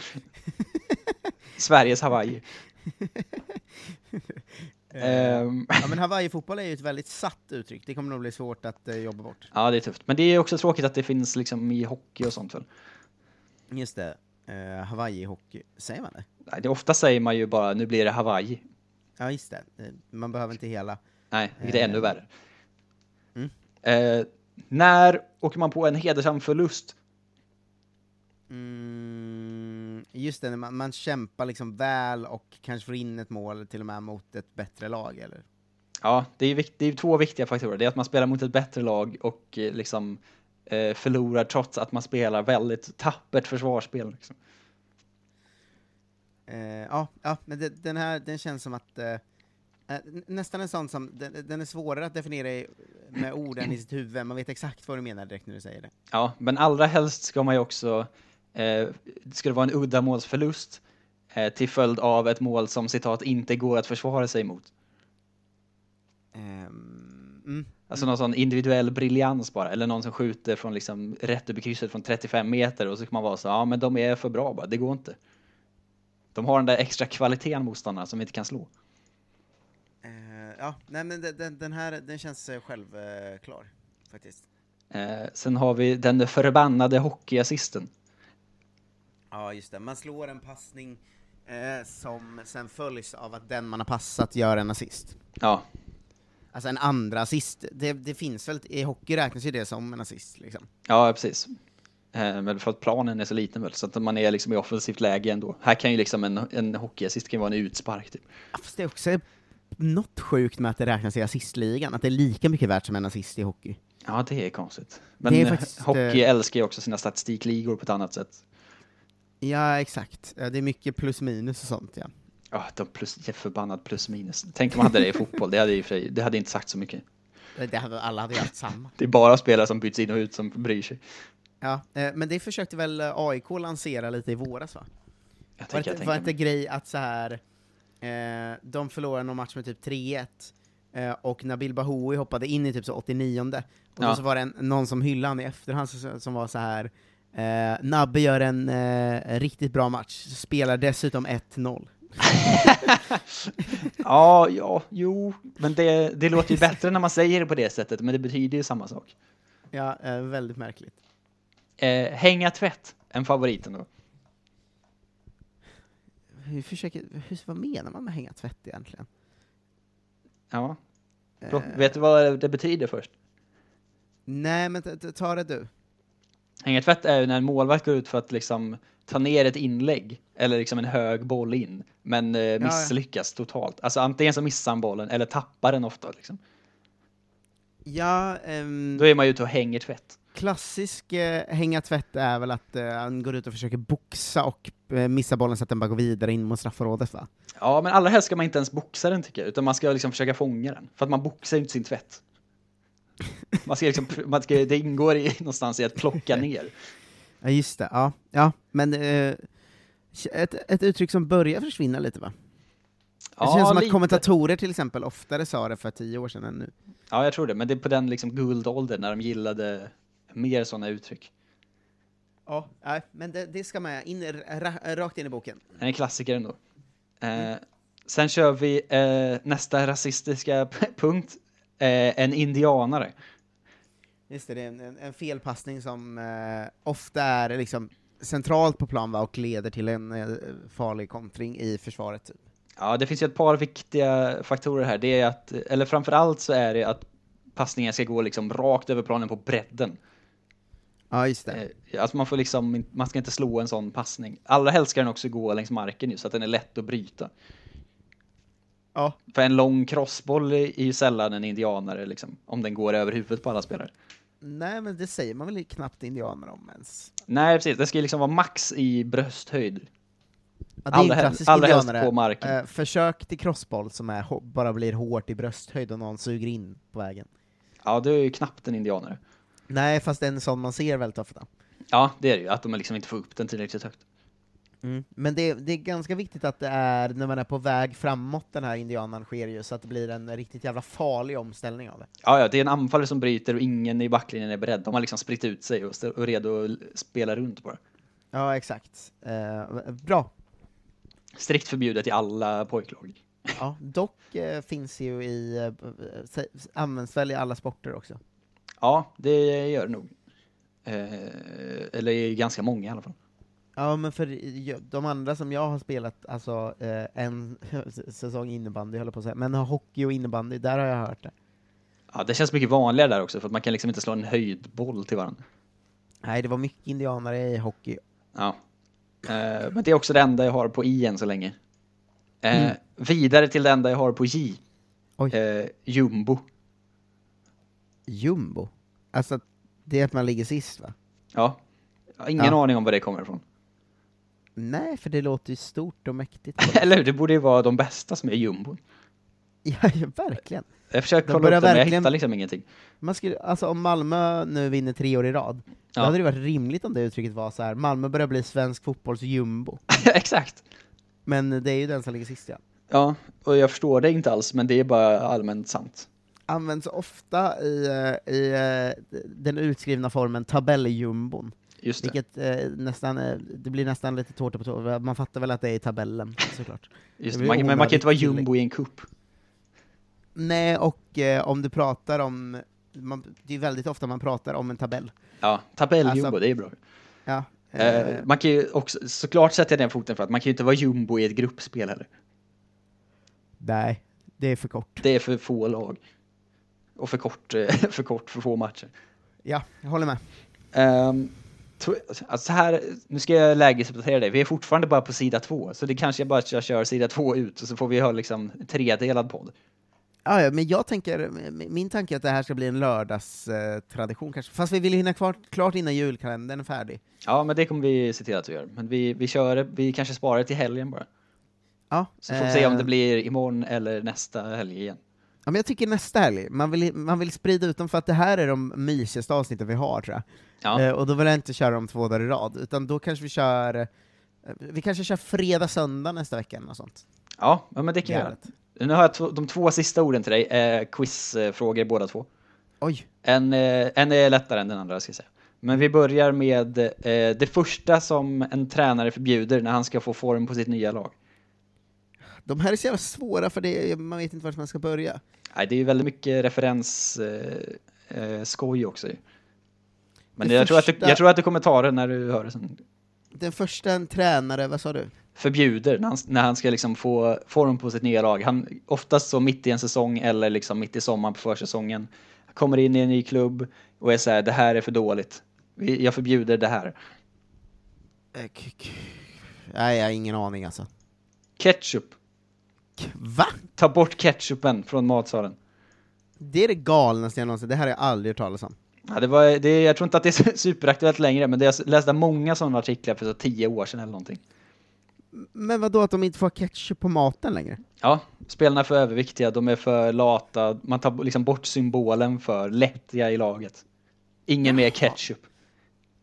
S10: Sveriges Hawaii. Ehm,
S9: ja, men Hawaii-fotboll är ju ett väldigt satt uttryck, det kommer nog bli svårt att eh, jobba bort.
S10: ja, det är tufft. Men det är också tråkigt att det finns liksom i hockey och sånt väl?
S9: Just det, eh, Hawaii-hockey, säger man det?
S10: Nej, det, ofta säger man ju bara nu blir det Hawaii.
S9: Ja, just det. Eh, man behöver inte hela.
S10: Nej, vilket är
S9: Eh.
S10: ännu värre. Eh, när åker man på en hedersam förlust?
S9: Mm, just det, när man, man kämpar liksom väl och kanske får in ett mål till och med mot ett bättre lag, eller?
S10: Ja, det är, ju vikt, det är ju två viktiga faktorer. Det är att man spelar mot ett bättre lag och eh, liksom eh, förlorar trots att man spelar väldigt tappert försvarsspel. Liksom.
S9: Eh, ja, ja, men det, den här den känns som att... Eh, eh, n- nästan en sån som, den, den är svårare att definiera i- med orden i sitt huvud, man vet exakt vad du menar direkt när du säger det.
S10: Ja, men allra helst ska man ju också, eh, ska det vara en uddamålsförlust eh, till följd av ett mål som citat inte går att försvara sig mot.
S9: mm.
S10: Alltså någon sån individuell briljans bara, eller någon som skjuter från liksom rätt över krysset från 35 meter och så kan man vara så, ja men de är för bra bara, det går inte. De har den där extra kvaliteten motståndarna som vi inte kan slå.
S9: Eh, ja, nej men den- den, den här den känns eh, självklar, faktiskt.
S10: Eh, sen har vi den förbannade hockeyassisten.
S9: Ja, just det. Man slår en passning eh, som sen följs av att den man har passat gör en assist.
S10: Ja,
S9: Alltså en andra assist. Det, det finns väl, i hockey räknas ju det som en assist liksom.
S10: ja precis. Eh, men för att planen är så liten väl, så att man är liksom i offensivt läge ändå. Här kan ju liksom en, en hockeyassist kan ju vara en utspark typ.
S9: Ja, Fast det är också något sjukt med att det räknas i assistligan, att det är lika mycket värt som en assist i hockey.
S10: Ja, det är konstigt. Men
S9: Det är
S10: eh,
S9: faktiskt,
S10: hockey
S9: eh,
S10: älskar ju också sina statistikligor på ett annat sätt.
S9: Ja, exakt. Ja, Det är mycket plus minus och sånt ja.
S10: Ja, de plus, det är förbannat plus minus. Tänk om man hade det i fotboll, det hade ju i och för sig, det hade inte sagt så mycket.
S9: Det- Det hade, alla hade ju haft samma.
S10: Det är bara spelare som byts in och ut som bryr sig.
S9: Ja, eh, men det försökte väl eh, AIK lansera lite i våras va?
S10: Jag
S9: var
S10: tänker, jag
S9: det,
S10: tänker
S9: var det
S10: mig.
S9: grej att så här eh, de förlorade någon match med typ 3-1, eh, och Nabil Bahoui hoppade in i typ så 89 och
S10: Ja.
S9: då så var det en, någon som hyllade honom i efterhand så- som var så här Eh, Nabbe gör en eh, riktigt bra match, spelar dessutom 1-0.
S10: ja, ja, jo, men det, det låter ju bättre när man säger det på det sättet, men det betyder ju samma sak.
S9: Ja, eh, väldigt märkligt.
S10: Eh, hänga tvätt, en favorit ändå.
S9: Hur försöker, hur, vad menar man med hänga tvätt egentligen?
S10: Ja. Bra.
S9: Eh.
S10: Vet du vad det betyder först?
S9: Nej, men ta- ta- ta det du.
S10: Hänga tvätt är ju när en målvakt går ut för att liksom ta ner ett inlägg eller liksom en hög boll in, men eh,
S9: ja.
S10: misslyckas totalt. Alltså antingen så missar han bollen eller tappar den ofta. Liksom.
S9: Ja, ehm,
S10: Då är man ju ute och hänger tvätt.
S9: klassisk eh, hänga tvätt är väl att eh, han går ut och försöker boxa och eh, missar bollen så att den bara går vidare in mot straffområdet va?
S10: Ja, men allra helst ska man inte ens boxa den tycker jag, utan man ska liksom försöka fånga den. För att man boxar ju inte sin tvätt. Man ska liksom, man ska, det ingår i, någonstans i att plocka ner.
S9: Ja, just det. Ja, ja men eh, ett, ett uttryck som börjar försvinna lite va? Det
S10: Ja,
S9: känns som att
S10: lite.
S9: kommentatorer till exempel oftare sa det för tio år sedan än nu.
S10: Ja, jag tror det, men det är på den liksom guldåldern när de gillade mer sådana uttryck.
S9: Ja, nej, men det, det ska med, in, ra, rakt in i boken.
S10: Den är en klassiker ändå. Eh, sen kör vi eh, nästa rasistiska p- punkt. Eh, en indianare.
S9: Just det, det är en, en, en felpassning som eh, ofta är liksom centralt på plan va, och leder till en eh, farlig kontring i försvaret. Typ.
S10: Ja, det finns ju ett par viktiga faktorer här. Det är att, eller framförallt så är det att passningen ska gå liksom rakt över planen på bredden.
S9: Ja, just det.
S10: Eh, Alltså man får liksom, in- man ska inte slå en sån passning. Allra helst ska den också gå längs marken ju, så att den är lätt att bryta.
S9: Ja.
S10: För en lång crossboll är är ju sällan en indianare liksom, om den går över huvudet på alla spelare.
S9: Nej, men det säger man väl knappt indianer om ens.
S10: Nej, precis. Det ska ju liksom vara max i brösthöjd.
S9: Ja, det är
S10: allra
S9: en
S10: helst,
S9: klassisk
S10: allra helst
S9: indianare.
S10: på marken.
S9: Eh, försök till crossboll som är, hå- bara blir hårt i brösthöjd och någon suger in på vägen.
S10: Ja, det är ju knappt en indianare.
S9: Nej, fast det är en sån man ser väldigt ofta.
S10: Ja, det är det ju. Att de liksom inte får upp den tillräckligt högt.
S9: Men det, det är ganska viktigt att det är när man är på väg framåt den här indianan sker ju, så att det blir en riktigt jävla farlig omställning av det.
S10: Ja, ja, det är en anfallare som bryter och ingen i backlinjen är beredd. De har liksom spritt ut sig och st- och är redo att l- spela runt bara.
S9: Ja, exakt. Eh, bra.
S10: Strikt förbjudet i alla pojklag.
S9: Ja, dock eh, finns ju i, eh, sä- används väl i alla sporter också.
S10: Ja, det gör det nog. Eh, eller i ganska många i alla fall.
S9: Ja, men för i- de andra som jag har spelat, alltså eh, en säsong innebandy höll jag på att säga, men har hockey och innebandy, där har jag hört det.
S10: Ja, det känns mycket vanligare där också för att man kan liksom inte slå en höjdboll till varandra.
S9: Nej, det var mycket indianare i hockey.
S10: Ja. Eh, men det är också det enda jag har på i än så länge. Eh,
S9: Mm.
S10: Vidare till det enda jag har på j. Eh, jumbo.
S9: Jumbo? Alltså, det är att man ligger sist va?
S10: Ja. Jag har ingen
S9: Ja.
S10: aning om var det kommer ifrån.
S9: Nej, för det låter ju stort och mäktigt.
S10: Eller hur? Det borde ju vara de bästa som är jumbo.
S9: ja, ja, verkligen.
S10: Jag försöker
S9: De
S10: kolla upp det,
S9: börjar
S10: men jag
S9: verkligen-
S10: hittar liksom ingenting.
S9: Man skulle, alltså om Malmö nu vinner tre år i rad,
S10: Ja.
S9: då hade det varit rimligt om det uttrycket var så här. Malmö börjar bli svensk fotbolls jumbo.
S10: Exakt.
S9: Men det är ju den som ligger sist ja.
S10: Ja, och jag förstår det inte alls, men det är bara allmänt sant.
S9: Används ofta i, eh, i eh, den utskrivna formen tabelljumbon.
S10: Just det.
S9: Vilket eh, nästan, eh, det blir nästan lite tårta på tårta, man fattar väl att det är i tabellen såklart.
S10: Just
S9: Det
S10: det.
S9: blir
S10: Man, men man kan inte vara
S9: onödigt tillägg.
S10: jumbo i en kupp.
S9: Nej, och eh, om du pratar om, man, det är väldigt ofta man pratar om en tabell.
S10: Ja, tabelljumbo,
S9: Alltså-
S10: det är bra.
S9: Ja, eh,
S10: Eh, man kan ju också, såklart sätter jag den foten för att man kan ju inte vara jumbo i ett gruppspel heller.
S9: nej, det är för kort.
S10: Det är för få lag. Och för kort, eh, för kort, för få matcher.
S9: Ja, jag håller med.
S10: Ehm, tro- alltså så här, nu ska jag lägesuppdatera dig, vi är fortfarande bara på sida två, så det kanske jag bara jag kör sida två ut, och så får vi ha liksom en tredelad podd.
S9: Ja, ja, men jag tänker, m- min tanke är att det här ska bli en lördagstradition eh, tradition kanske, fast vi vill hinna kvar, klart innan julkalendern är färdig.
S10: Ja, men det kommer vi se till att vi gör. Men vi, vi kör det- vi kanske sparar det till helgen bara.
S9: Ja,
S10: Så får vi se om
S9: eh,
S10: det blir imorgon eller nästa helg igen.
S9: Ja, men jag tycker nästa helg, man vill, man vill sprida ut dem för att det här är de mysigaste avsnitten vi har tror jag.
S10: Ja.
S9: Eh, och då vill jag inte köra dem två dagar i rad, utan då kanske vi kör, eh, vi kanske kör fredag, söndag nästa vecka eller något sånt.
S10: Ja, ja, men det kan vi göra.
S9: Galet.
S10: Nu har jag två- de två sista orden till dig, eh, quizfrågor båda två.
S9: Oj.
S10: En, eh, en är lättare än den andra, ska jag säga. Men vi börjar med eh, det första som en tränare förbjuder när han ska få form på sitt nya lag.
S9: De här är så jävla svåra för det, man vet inte vart man ska börja.
S10: Nej, det är ju väldigt mycket referensskoj eh, eh, skoj också ju. Men
S9: Det
S10: jag, tror att du,
S9: första-
S10: jag tror att du kommer ta det när du hör det sen.
S9: Den första en tränare, vad sa du?
S10: Förbjuder när han, när han ska liksom få form på sitt nya lag. Han, oftast så mitt i en säsong eller liksom mitt i sommaren på försäsongen. Kommer in i en ny klubb och är så här, det här är för dåligt. Vi- Jag förbjuder det här.
S9: Eh, k- k- Nej, jag har ingen aning alltså.
S10: Ketchup.
S9: Va?
S10: Ta bort ketchupen från matsalen.
S9: Det är det galnaste jag någonsin, det här har jag aldrig hört talas om.
S10: Ja, det var, det, jag tror inte att det är superaktuellt längre, men det, jag läste många sådana artiklar för så tio år sedan eller någonting.
S9: Men vad då att de inte får ha ketchup på maten längre?
S10: Ja, spelarna är för överviktiga, de är för lata, man tar liksom bort symbolen för lättja i laget. Ingen mer ketchup.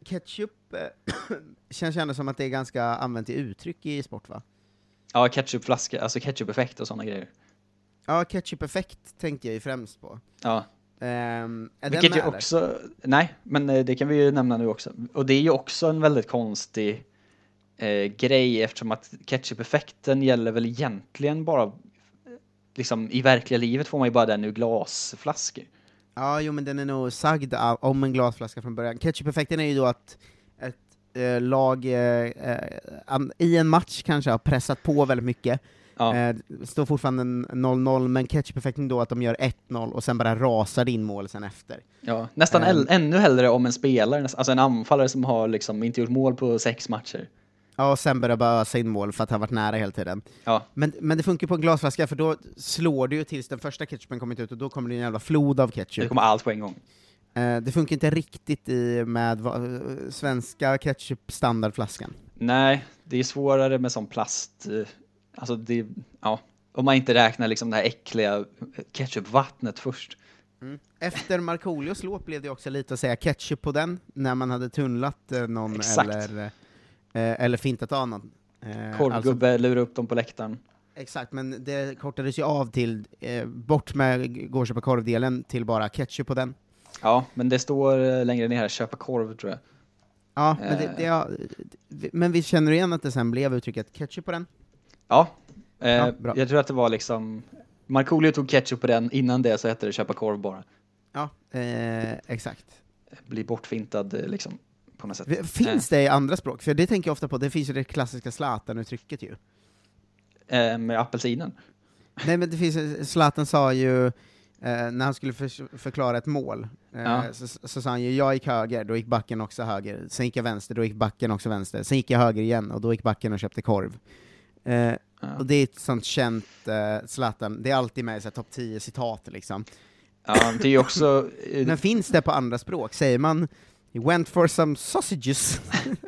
S9: Ketchup eh, känns ju ändå som att det är ganska använt i uttryck i sport va?
S10: Ja, ketchupflaska, alltså ketchupeffekt och sådana grejer.
S9: Ja, ketchup-effekt tänkte jag ju främst på.
S10: Ja.
S9: Ehm, är
S10: Vilket
S9: den
S10: ju
S9: med, eller?
S10: också, nej, men eh, det kan vi ju nämna nu också. Och det är ju också en väldigt konstig eh, grej eftersom att ketchup-effekten gäller väl egentligen bara, eh, liksom i verkliga livet får man ju bara den ur glasflaskor.
S9: Ja, jo men den är nog sagd av- om en glasflaska från början. Ketchup-effekten är ju då att ett eh, lag eh, eh, an, i en match kanske har pressat på väldigt mycket, eh, står fortfarande en 0-0, men ketchup-effekten då att de gör 1-0 och sen bara rasar in mål sen efter.
S10: Ja, nästan
S9: Ehm.
S10: äl- ännu hellre om en spelare, näs- alltså en anfallare som har liksom inte gjort mål på sex matcher.
S9: Ja, och sen börjar bara ösa in mål för att han varit nära hela tiden.
S10: Ja.
S9: Men, men det funkar ju på en glasflaska, för då slår du ju tills den första ketchupen kommit ut, och då kommer det en jävla flod av ketchup.
S10: Det kommer allt på en gång.
S9: Eh, det funkar inte riktigt i med va, eh, svenska ketchup-standardflaskan.
S10: Nej, det är svårare med sån plast. eh, Alltså det, ja. Om man inte räknar liksom det här äckliga ketchupvattnet först.
S9: Eh, Efter Markoolios låt blev det också lite att säga ketchup på den, när man hade tunnlat eh, någon
S10: Exakt.
S9: eller, eh, eller fintat av någon. Eh, alltså,
S10: Korvgubbe, lura upp dem på läktaren.
S9: exakt, men det kortades ju av till, eh, bort med gå och köpa korvdelen till bara ketchup på den.
S10: Ja, men det står eh, längre ner här, köpa korv tror jag.
S9: Ja, men, det,
S10: Eh.
S9: det, ja, men vi känner igen att det sen blev uttrycket ketchup på den?
S10: Ja, eh,
S9: Ja, bra.
S10: jag tror att det var liksom, Markoolio tog ketchup på den, innan det så hette det köpa korv bara.
S9: Ja, eh, exakt.
S10: Bli bortfintad eh, liksom, på något sätt.
S9: Vi- Finns
S10: Eh.
S9: det i andra språk? För det tänker jag ofta på, det finns ju det klassiska Zlatan-uttrycket ju.
S10: Eh, med apelsinen.
S9: Nej men det finns, Zlatan sa ju, eh, när han skulle förs- förklara ett mål, eh,
S10: Ja.
S9: så, så sa han ju jag gick höger, då gick backen också höger, sen gick jag vänster, då gick backen också vänster, sen gick jag höger igen, och då gick backen och köpte korv. Eh, Och det är ett sånt känt eh, Zlatan, det är alltid med i så här topp 10 citat liksom.
S10: Ja, det är ju också... eh,
S9: Men finns det på andra språk? Säger man "He went for some sausages?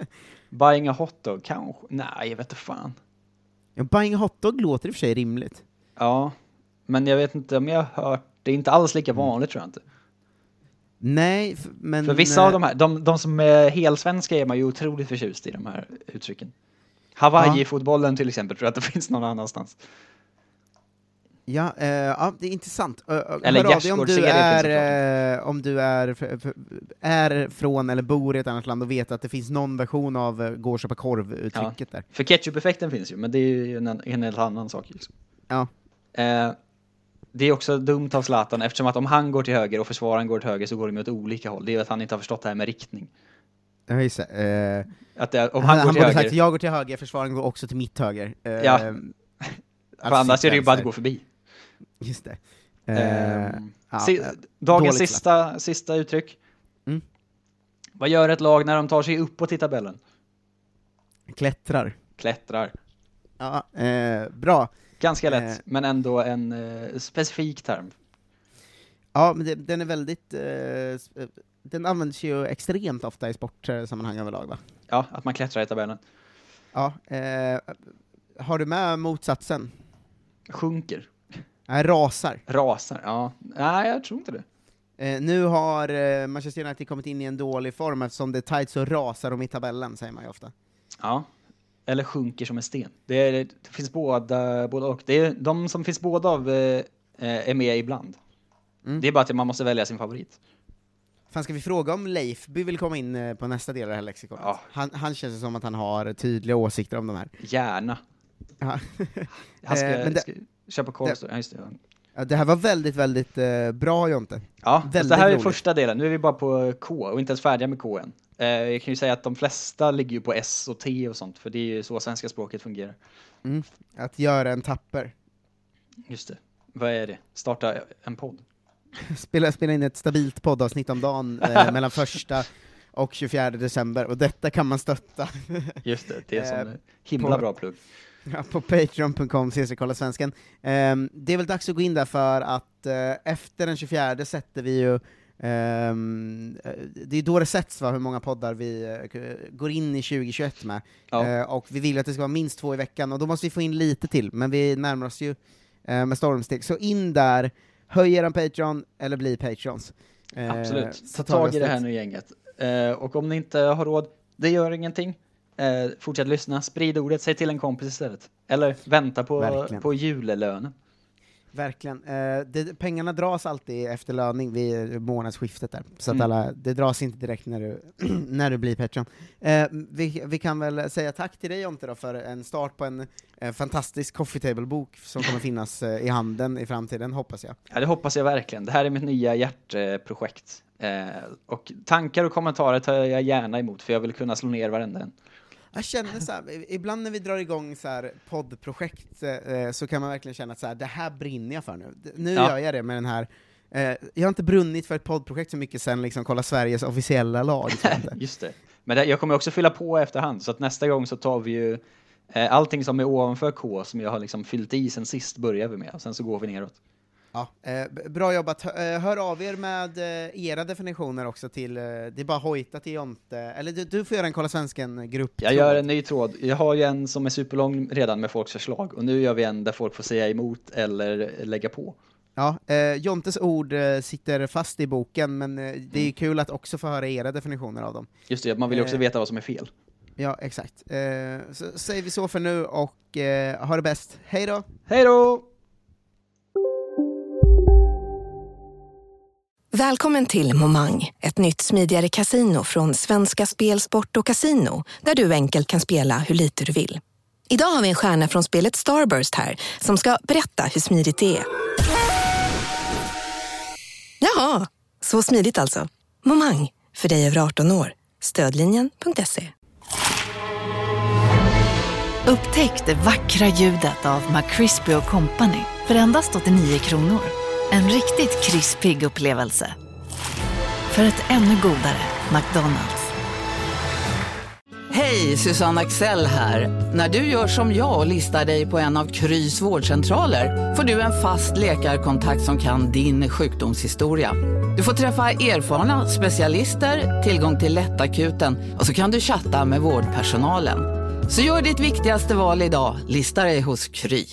S10: Buying a hotdog, kanske? Nej, jag vet inte fan.
S9: Ja, Buying a hotdog låter i och för sig rimligt.
S10: Ja, men jag vet inte om jag har hört... Det är inte alls lika vanligt tror jag inte.
S9: Nej, f- Mm. men...
S10: För vissa av
S9: eh,
S10: de här, de, de som är helsvenska är man ju otroligt förtjust i de här uttrycken. Hawaii-fotbollen till exempel tror jag att det finns någon annanstans.
S9: Ja, eh, ja, det är intressant. Ö, ö,
S10: Eller
S9: hör av dig om du
S10: gärdsgårdscigaretter
S9: är, eh, om du är, f- f- är från eller bor i ett annat land och vet att det finns någon version av eh, gå och köpa
S10: Ja.
S9: korv-uttrycket där.
S10: För ketchup-effekten finns ju, men det är ju en, en helt annan sak. Liksom.
S9: Ja.
S10: Eh, det är också dumt av Zlatan eftersom att om han går till höger och försvararen går till höger så går de ju åt olika håll. Det är ju att han inte har förstått det här med riktning.
S9: Ja, just det. Eh,
S10: Att det, om han, går till
S9: borde
S10: höger...
S9: sagt jag går till höger, försvararen går också till mitt höger. Eh,
S10: Ja. För annars
S9: sitt
S10: är det ju bara att
S9: vänster.
S10: gå förbi.
S9: Just det. Eh,
S10: Ehm,
S9: ja,
S10: si-
S9: eh,
S10: dagens
S9: dåligt
S10: sista, sista uttryck.
S9: Mm.
S10: Vad gör ett lag när de tar sig uppåt i tabellen?
S9: klapp. Klättrar.
S10: Klättrar.
S9: Ja, eh, bra.
S10: Ganska lätt,
S9: Eh.
S10: men ändå en eh, specifik term.
S9: Ja, men det, den är väldigt... Eh, s- eh, den används ju extremt ofta i sportsammanhang överlag, va?
S10: Ja, att man klättrar i tabellen.
S9: Ja, eh, har du med motsatsen?
S10: Sjunker.
S9: Nej, rasar.
S10: Rasar. Ja. Nej, jag tror inte det.
S9: Eh, nu har eh, Manchester United kommit in i en dålig form, eftersom det är tajt så rasar de i tabellen, säger man ju ofta.
S10: Ja. Eller sjunker som en sten. Det, är, det finns båda, båda och. Det är, de som finns
S9: Mm.
S10: båda av eh, eh, är med ibland. Det är bara att man måste välja sin favorit.
S9: Fan, ska vi fråga om Leifby vill komma in eh, på nästa del av det här lexikonet? Han, han känns ju som att han har tydliga åsikter om de här.
S10: Gärna.
S9: Ja.
S10: Han ska,
S9: Eh, men det-
S10: ska köpa korv. så- Ja, just det. ja.
S9: Ja, det här var väldigt, väldigt eh, bra Jonte.
S10: Ja,
S9: väldigt
S10: det här är
S9: roligt.
S10: första delen. Nu är vi bara på K och inte ens färdiga med K än. Eh, jag kan ju säga att de flesta ligger ju på S och T och sånt, för det är ju så svenska språket fungerar.
S9: Mm. Att göra en tapper.
S10: Just det. Vad är det? Starta en podd?
S9: Spela, spela in ett stabilt poddavsnitt om dagen eh, mellan första och 24 december, och detta kan man stötta.
S10: Just det, det är en
S9: Eh,
S10: sån himla
S9: på-
S10: bra plugg.
S9: Ja, på patreon.com kolla svensken. Ehm, det är väl dags att gå in där för att eh, efter den 24 sätter vi ju ehm, eh, det är då det sätts va, hur många poddar vi eh, k- går in i 2021 med.
S10: Ja.
S9: Eh, och vi vill att det ska vara minst två i veckan, och då måste vi få in lite till, men vi närmar oss ju eh, med stormsteg. Så in där, höj er Patreon, eller bli Patreons. Eh,
S10: Absolut. Ta
S9: så tar vi
S10: tag
S9: oss
S10: i det här
S9: dit.
S10: nu gänget. Eh, och om ni inte har råd, det gör ingenting. Eh, fortsätt lyssna, sprid ordet, säg till en kompis istället. Eller vänta på,
S9: Verkligen.
S10: på julelönen.
S9: Verkligen. Eh, det, pengarna dras alltid efter löning vid månadsskiftet där, så att
S10: Mm.
S9: alla, det dras inte direkt när du, när du blir Patreon. Eh, vi, vi kan väl säga tack till dig Jonte då för en start på en eh, fantastisk coffee table-bok som kommer finnas eh, i handen i framtiden, hoppas jag.
S10: Ja, det hoppas jag verkligen. Det här är mitt nya hjärtprojekt. Eh, och tankar och kommentarer tar jag gärna emot, för jag vill kunna slå ner varenda en.
S9: Jag känner så här, i- ibland när vi drar igång så här poddprojekt eh, så kan man verkligen känna att så här, det här brinner jag för nu. D- Nu
S10: Ja.
S9: gör jag det med den här eh, jag har inte brunnit för ett poddprojekt så mycket sen liksom Kolla Sveriges officiella lag. tror jag inte.
S10: Just det. Men det, jag kommer också fylla på efterhand, så att nästa gång så tar vi ju eh, allting som är ovanför K, som jag har liksom fyllt i sen sist, börjar vi med. Och sen så går vi neråt.
S9: Ja, eh, b- bra jobbat. Hör, eh, hör av er med eh, era definitioner också till, eh, det är bara hojta till Jonte, eller du, du får göra en Kolla Svensken-grupp.
S10: Jag gör en ny tråd. Jag har ju en som är superlång redan med folks förslag och nu gör vi en där folk får säga emot eller lägga på.
S9: Ja, eh, Jontes ord eh, sitter fast i boken, men eh, det
S10: Mm.
S9: är ju kul att också få höra era definitioner av dem.
S10: Just det, man vill ju också
S9: Eh.
S10: veta vad som är fel.
S9: Ja, exakt. Eh, så säger vi så för nu och eh, ha det bäst. Hej då!
S10: Hej då!
S15: Välkommen till Momang, ett nytt smidigare kasino från Svenska Spel, Sport och Casino där du enkelt kan spela hur lite du vill. Idag har vi en stjärna från spelet Starburst här som ska berätta hur smidigt det är. Jaha, så smidigt alltså. Momang, för dig över 18 år. Stödlinjen.se.
S11: Upptäck det vackra ljudet av McCrispy Company för endast 89 kronor. En riktigt krispig upplevelse. För ett ännu godare McDonalds.
S16: Hej, Susanne Axel här. När du gör som jag och listar dig på en av Krys vårdcentraler får du en fast läkarkontakt som kan din sjukdomshistoria. Du får träffa erfarna specialister, tillgång till lättakuten och så kan du chatta med vårdpersonalen. Så gör ditt viktigaste val idag, lista dig hos Kry.